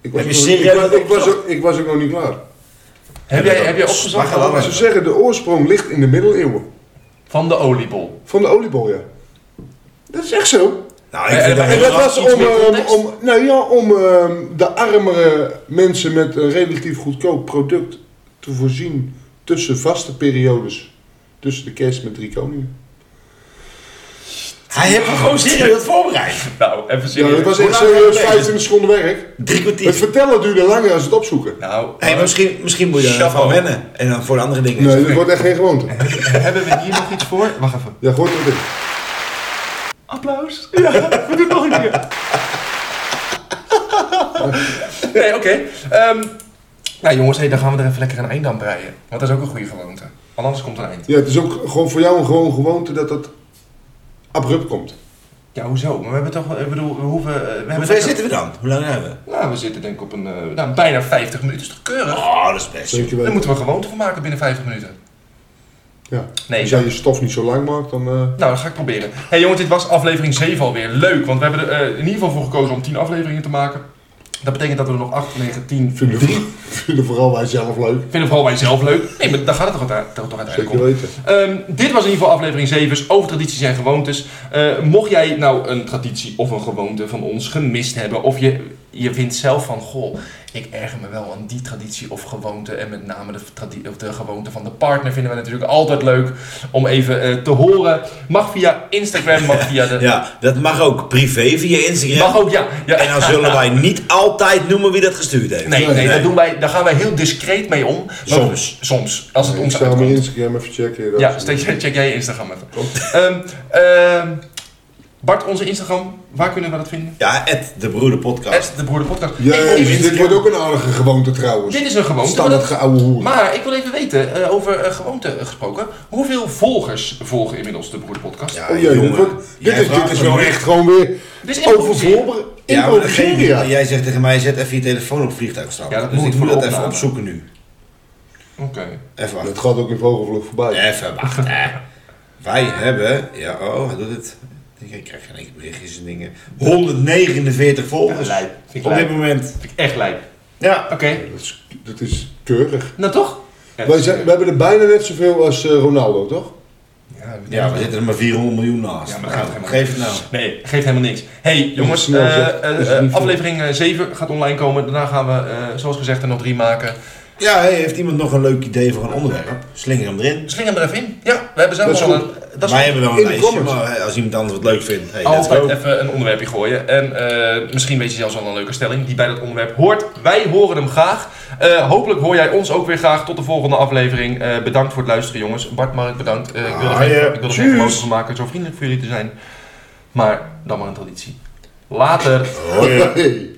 Speaker 2: Ik
Speaker 3: Heb
Speaker 2: ook
Speaker 3: je
Speaker 2: nog- ik
Speaker 3: serieus
Speaker 2: was-
Speaker 3: dat
Speaker 2: ik was
Speaker 3: opgezocht?
Speaker 2: ook- Ik was ook nog niet klaar.
Speaker 1: Oh, Heb
Speaker 3: dat
Speaker 1: jij,
Speaker 3: ook.
Speaker 1: heb jij opgezocht
Speaker 3: Wacht, laat
Speaker 1: van-
Speaker 3: maar.
Speaker 2: Ze zeggen de oorsprong ligt in de middeleeuwen.
Speaker 1: van de oliebol?
Speaker 2: Van de oliebol, ja. Dat is echt zo.
Speaker 3: Nou, ik
Speaker 1: Eh,
Speaker 3: vind
Speaker 1: eh,
Speaker 3: dat
Speaker 2: En
Speaker 1: eh,
Speaker 3: heel
Speaker 2: dat
Speaker 1: Wat,
Speaker 3: grappig.
Speaker 2: was
Speaker 1: iets
Speaker 2: om,
Speaker 1: meer
Speaker 2: ehm,
Speaker 1: context?
Speaker 2: om, nou ja, om ehm, de armere mensen met een relatief goedkoop product te voorzien tussen vaste periodes. Tussen de kerst met drie koningen.
Speaker 3: Hij heeft me gewoon serieus voorbereid.
Speaker 1: Nou, even
Speaker 2: Ja,
Speaker 1: serieus.
Speaker 2: dat was
Speaker 3: Hoe
Speaker 2: echt
Speaker 3: lang heb je
Speaker 2: serieus
Speaker 3: het
Speaker 2: 25 eh, seconden werk.
Speaker 3: Drie kwartier.
Speaker 2: Het vertellen duurde langer als het opzoeken.
Speaker 1: Nou,
Speaker 3: Hey, maar misschien, misschien moet je
Speaker 1: Chapeau.
Speaker 3: ervan wennen. En dan voor de andere dingen.
Speaker 2: Nee, dat wordt echt geen gewoonte.
Speaker 1: hebben we hier nog iets voor? Wacht even.
Speaker 2: Ja, hoort dat in.
Speaker 1: Applaus. Ja, we doen nog een keer. Nee, oké. Ehm, nou jongens, hey, dan gaan we er even lekker een eind aan breien. Want dat is ook een goede gewoonte. Want anders komt er een eind.
Speaker 2: Ja, het is ook gewoon voor jou een gewoon gewoonte dat dat abrupt komt.
Speaker 1: Ja, hoezo? Maar we hebben toch, ik bedoel, we hoeven... eh, We hebben
Speaker 3: Hoe ver
Speaker 1: net-
Speaker 3: zitten we dan? Hoe lang zijn we?
Speaker 1: Nou, we zitten denk ik op een, eh, nou, bijna 50 minuten. Dat is toch keurig?
Speaker 3: Oh, dat is best. joh.
Speaker 2: Zeker
Speaker 1: Daar
Speaker 2: weten.
Speaker 1: moeten we een gewoonte van maken binnen 50 minuten.
Speaker 2: Ja.
Speaker 1: Nee,
Speaker 2: Als jij je stof niet zo lang maakt, dan... eh,
Speaker 1: Nou, dat ga ik proberen. hey, jongens, dit was aflevering 7 alweer. Leuk, want we hebben er eh, in ieder geval voor gekozen om 10 afleveringen te maken. Dat betekent dat we er nog 8, 9, 10,
Speaker 2: (laughs) Vinden, we- vinden vooral wij zelf leuk.
Speaker 1: Vinden vooral wij zelf leuk. Nee, maar daar gaat het toch, uite- toch uiteindelijk
Speaker 2: Zeker
Speaker 1: om.
Speaker 2: weten.
Speaker 1: Ehm, dit was in ieder geval aflevering 7 over tradities en gewoontes. Eh, mocht jij nou een traditie of een gewoonte van ons gemist hebben, of je je vindt zelf van, goh, ik erger me wel aan die traditie of gewoonte. En met name de, tradi- of de gewoonte van de partner vinden we natuurlijk altijd leuk om even eh, te horen. Mag via Instagram, mag via de...
Speaker 3: Ja, dat mag ook privé via Instagram.
Speaker 1: Mag ook, ja. ja.
Speaker 3: En dan zullen wij niet altijd noemen wie dat gestuurd heeft.
Speaker 1: Nee, nee,
Speaker 2: Nee.
Speaker 1: Dat doen wij, daar gaan wij heel discreet mee om. Maar-
Speaker 3: Soms.
Speaker 1: Soms, als het
Speaker 2: Ik
Speaker 1: ons
Speaker 2: zou mijn
Speaker 1: uitkomt.
Speaker 2: Instagram even checken. dat
Speaker 1: Ja,
Speaker 2: is-
Speaker 1: steek- check jij je Instagram even. Ehm, ehm, Bart, onze Instagram, waar kunnen we dat vinden?
Speaker 3: Ja, het de broeder podcast.
Speaker 1: Ed de Broeder Podcast. Ik- ik- (laughs)
Speaker 2: Jezus, dit wordt ook een aardige gewoonte trouwens.
Speaker 1: Dit is een gewoonte.
Speaker 2: Standaard
Speaker 1: maar dat-
Speaker 2: geouwe hoer.
Speaker 1: Maar ik wil even weten, eh, over eh, gewoonte gesproken, hoeveel volgers volgen inmiddels de Broeder Podcast?
Speaker 3: Ja,
Speaker 2: Oh jee, dit,
Speaker 3: jongen.
Speaker 2: wordt- dit
Speaker 3: Jij
Speaker 2: is, dit
Speaker 3: vraagt
Speaker 2: is
Speaker 3: me
Speaker 2: wel
Speaker 3: nu-
Speaker 2: echt gewoon weer
Speaker 1: Dit is improviseren.
Speaker 2: overvoorbereid.
Speaker 3: Ja, maar dat geeft
Speaker 2: Improviseren,
Speaker 3: niet, want
Speaker 2: ja.
Speaker 3: jij zegt tegen mij, zet even je telefoon op vliegtuigstrap.
Speaker 1: Ja, dat
Speaker 3: dus
Speaker 1: moet
Speaker 3: ik moet
Speaker 1: voor de
Speaker 3: dat even
Speaker 1: opname.
Speaker 3: opzoeken nu.
Speaker 1: Oké.
Speaker 3: Even wachten.
Speaker 2: Dat gaat ook in vogelvlucht voorbij.
Speaker 3: Even wachten. (laughs) Wij hebben, ja, oh, hij doet het. Ik krijg geen enkele berichtjes en dingen. 149 volgers
Speaker 1: Ja, lijp. Vind ik
Speaker 3: op
Speaker 1: lijp.
Speaker 3: dit moment.
Speaker 1: Vind ik echt lijp.
Speaker 3: Ja.
Speaker 1: Oké.
Speaker 2: Dat is, dat is keurig.
Speaker 1: Nou toch? Ja,
Speaker 2: Wij zijn, we hebben er bijna net zoveel als eh, Ronaldo, toch?
Speaker 1: ja, we-
Speaker 3: Ja, we zitten er maar 400 miljoen naast.
Speaker 1: Ja, maar dat gaat
Speaker 3: nou,
Speaker 1: helemaal
Speaker 3: geef het nou.
Speaker 1: Nee, geeft helemaal niks. Hey jongens,
Speaker 2: snel,
Speaker 1: eh,
Speaker 2: zeg.
Speaker 1: eh,
Speaker 2: Dat is niet
Speaker 1: eh,
Speaker 2: veel.
Speaker 1: aflevering eh, 7 gaat online komen. Daarna gaan we, eh, zoals gezegd, er nog drie maken.
Speaker 3: Ja, hey, heeft iemand nog een leuk idee voor een onderwerp? Slinger hem erin.
Speaker 1: Slinger hem Dus er even in. Ja, we hebben zelf
Speaker 2: Dat is
Speaker 1: al een. eh,
Speaker 2: goed.
Speaker 1: Dat is
Speaker 3: Wij hebben wel een
Speaker 2: in de
Speaker 3: lijstje,
Speaker 2: comments.
Speaker 3: maar hey, als iemand anders wat leuk vindt, hey, let's
Speaker 1: altijd
Speaker 3: go.
Speaker 1: even een onderwerpje gooien. En eh, misschien weet je zelfs al een leuke stelling die bij dat onderwerp hoort. Wij horen hem graag. Eh, hopelijk hoor jij ons ook weer graag. Tot de volgende aflevering. Eh, bedankt voor het luisteren, jongens. Bart, Mark, bedankt. Eh, ik wil er
Speaker 3: Ah,
Speaker 1: geen,
Speaker 3: ja.
Speaker 1: ik wil er geen
Speaker 3: Tjus.
Speaker 1: foto van maken. Zo vriendelijk voor jullie te zijn. Maar dan maar een traditie. Later.
Speaker 3: Hoi.
Speaker 2: (laughs) Hey.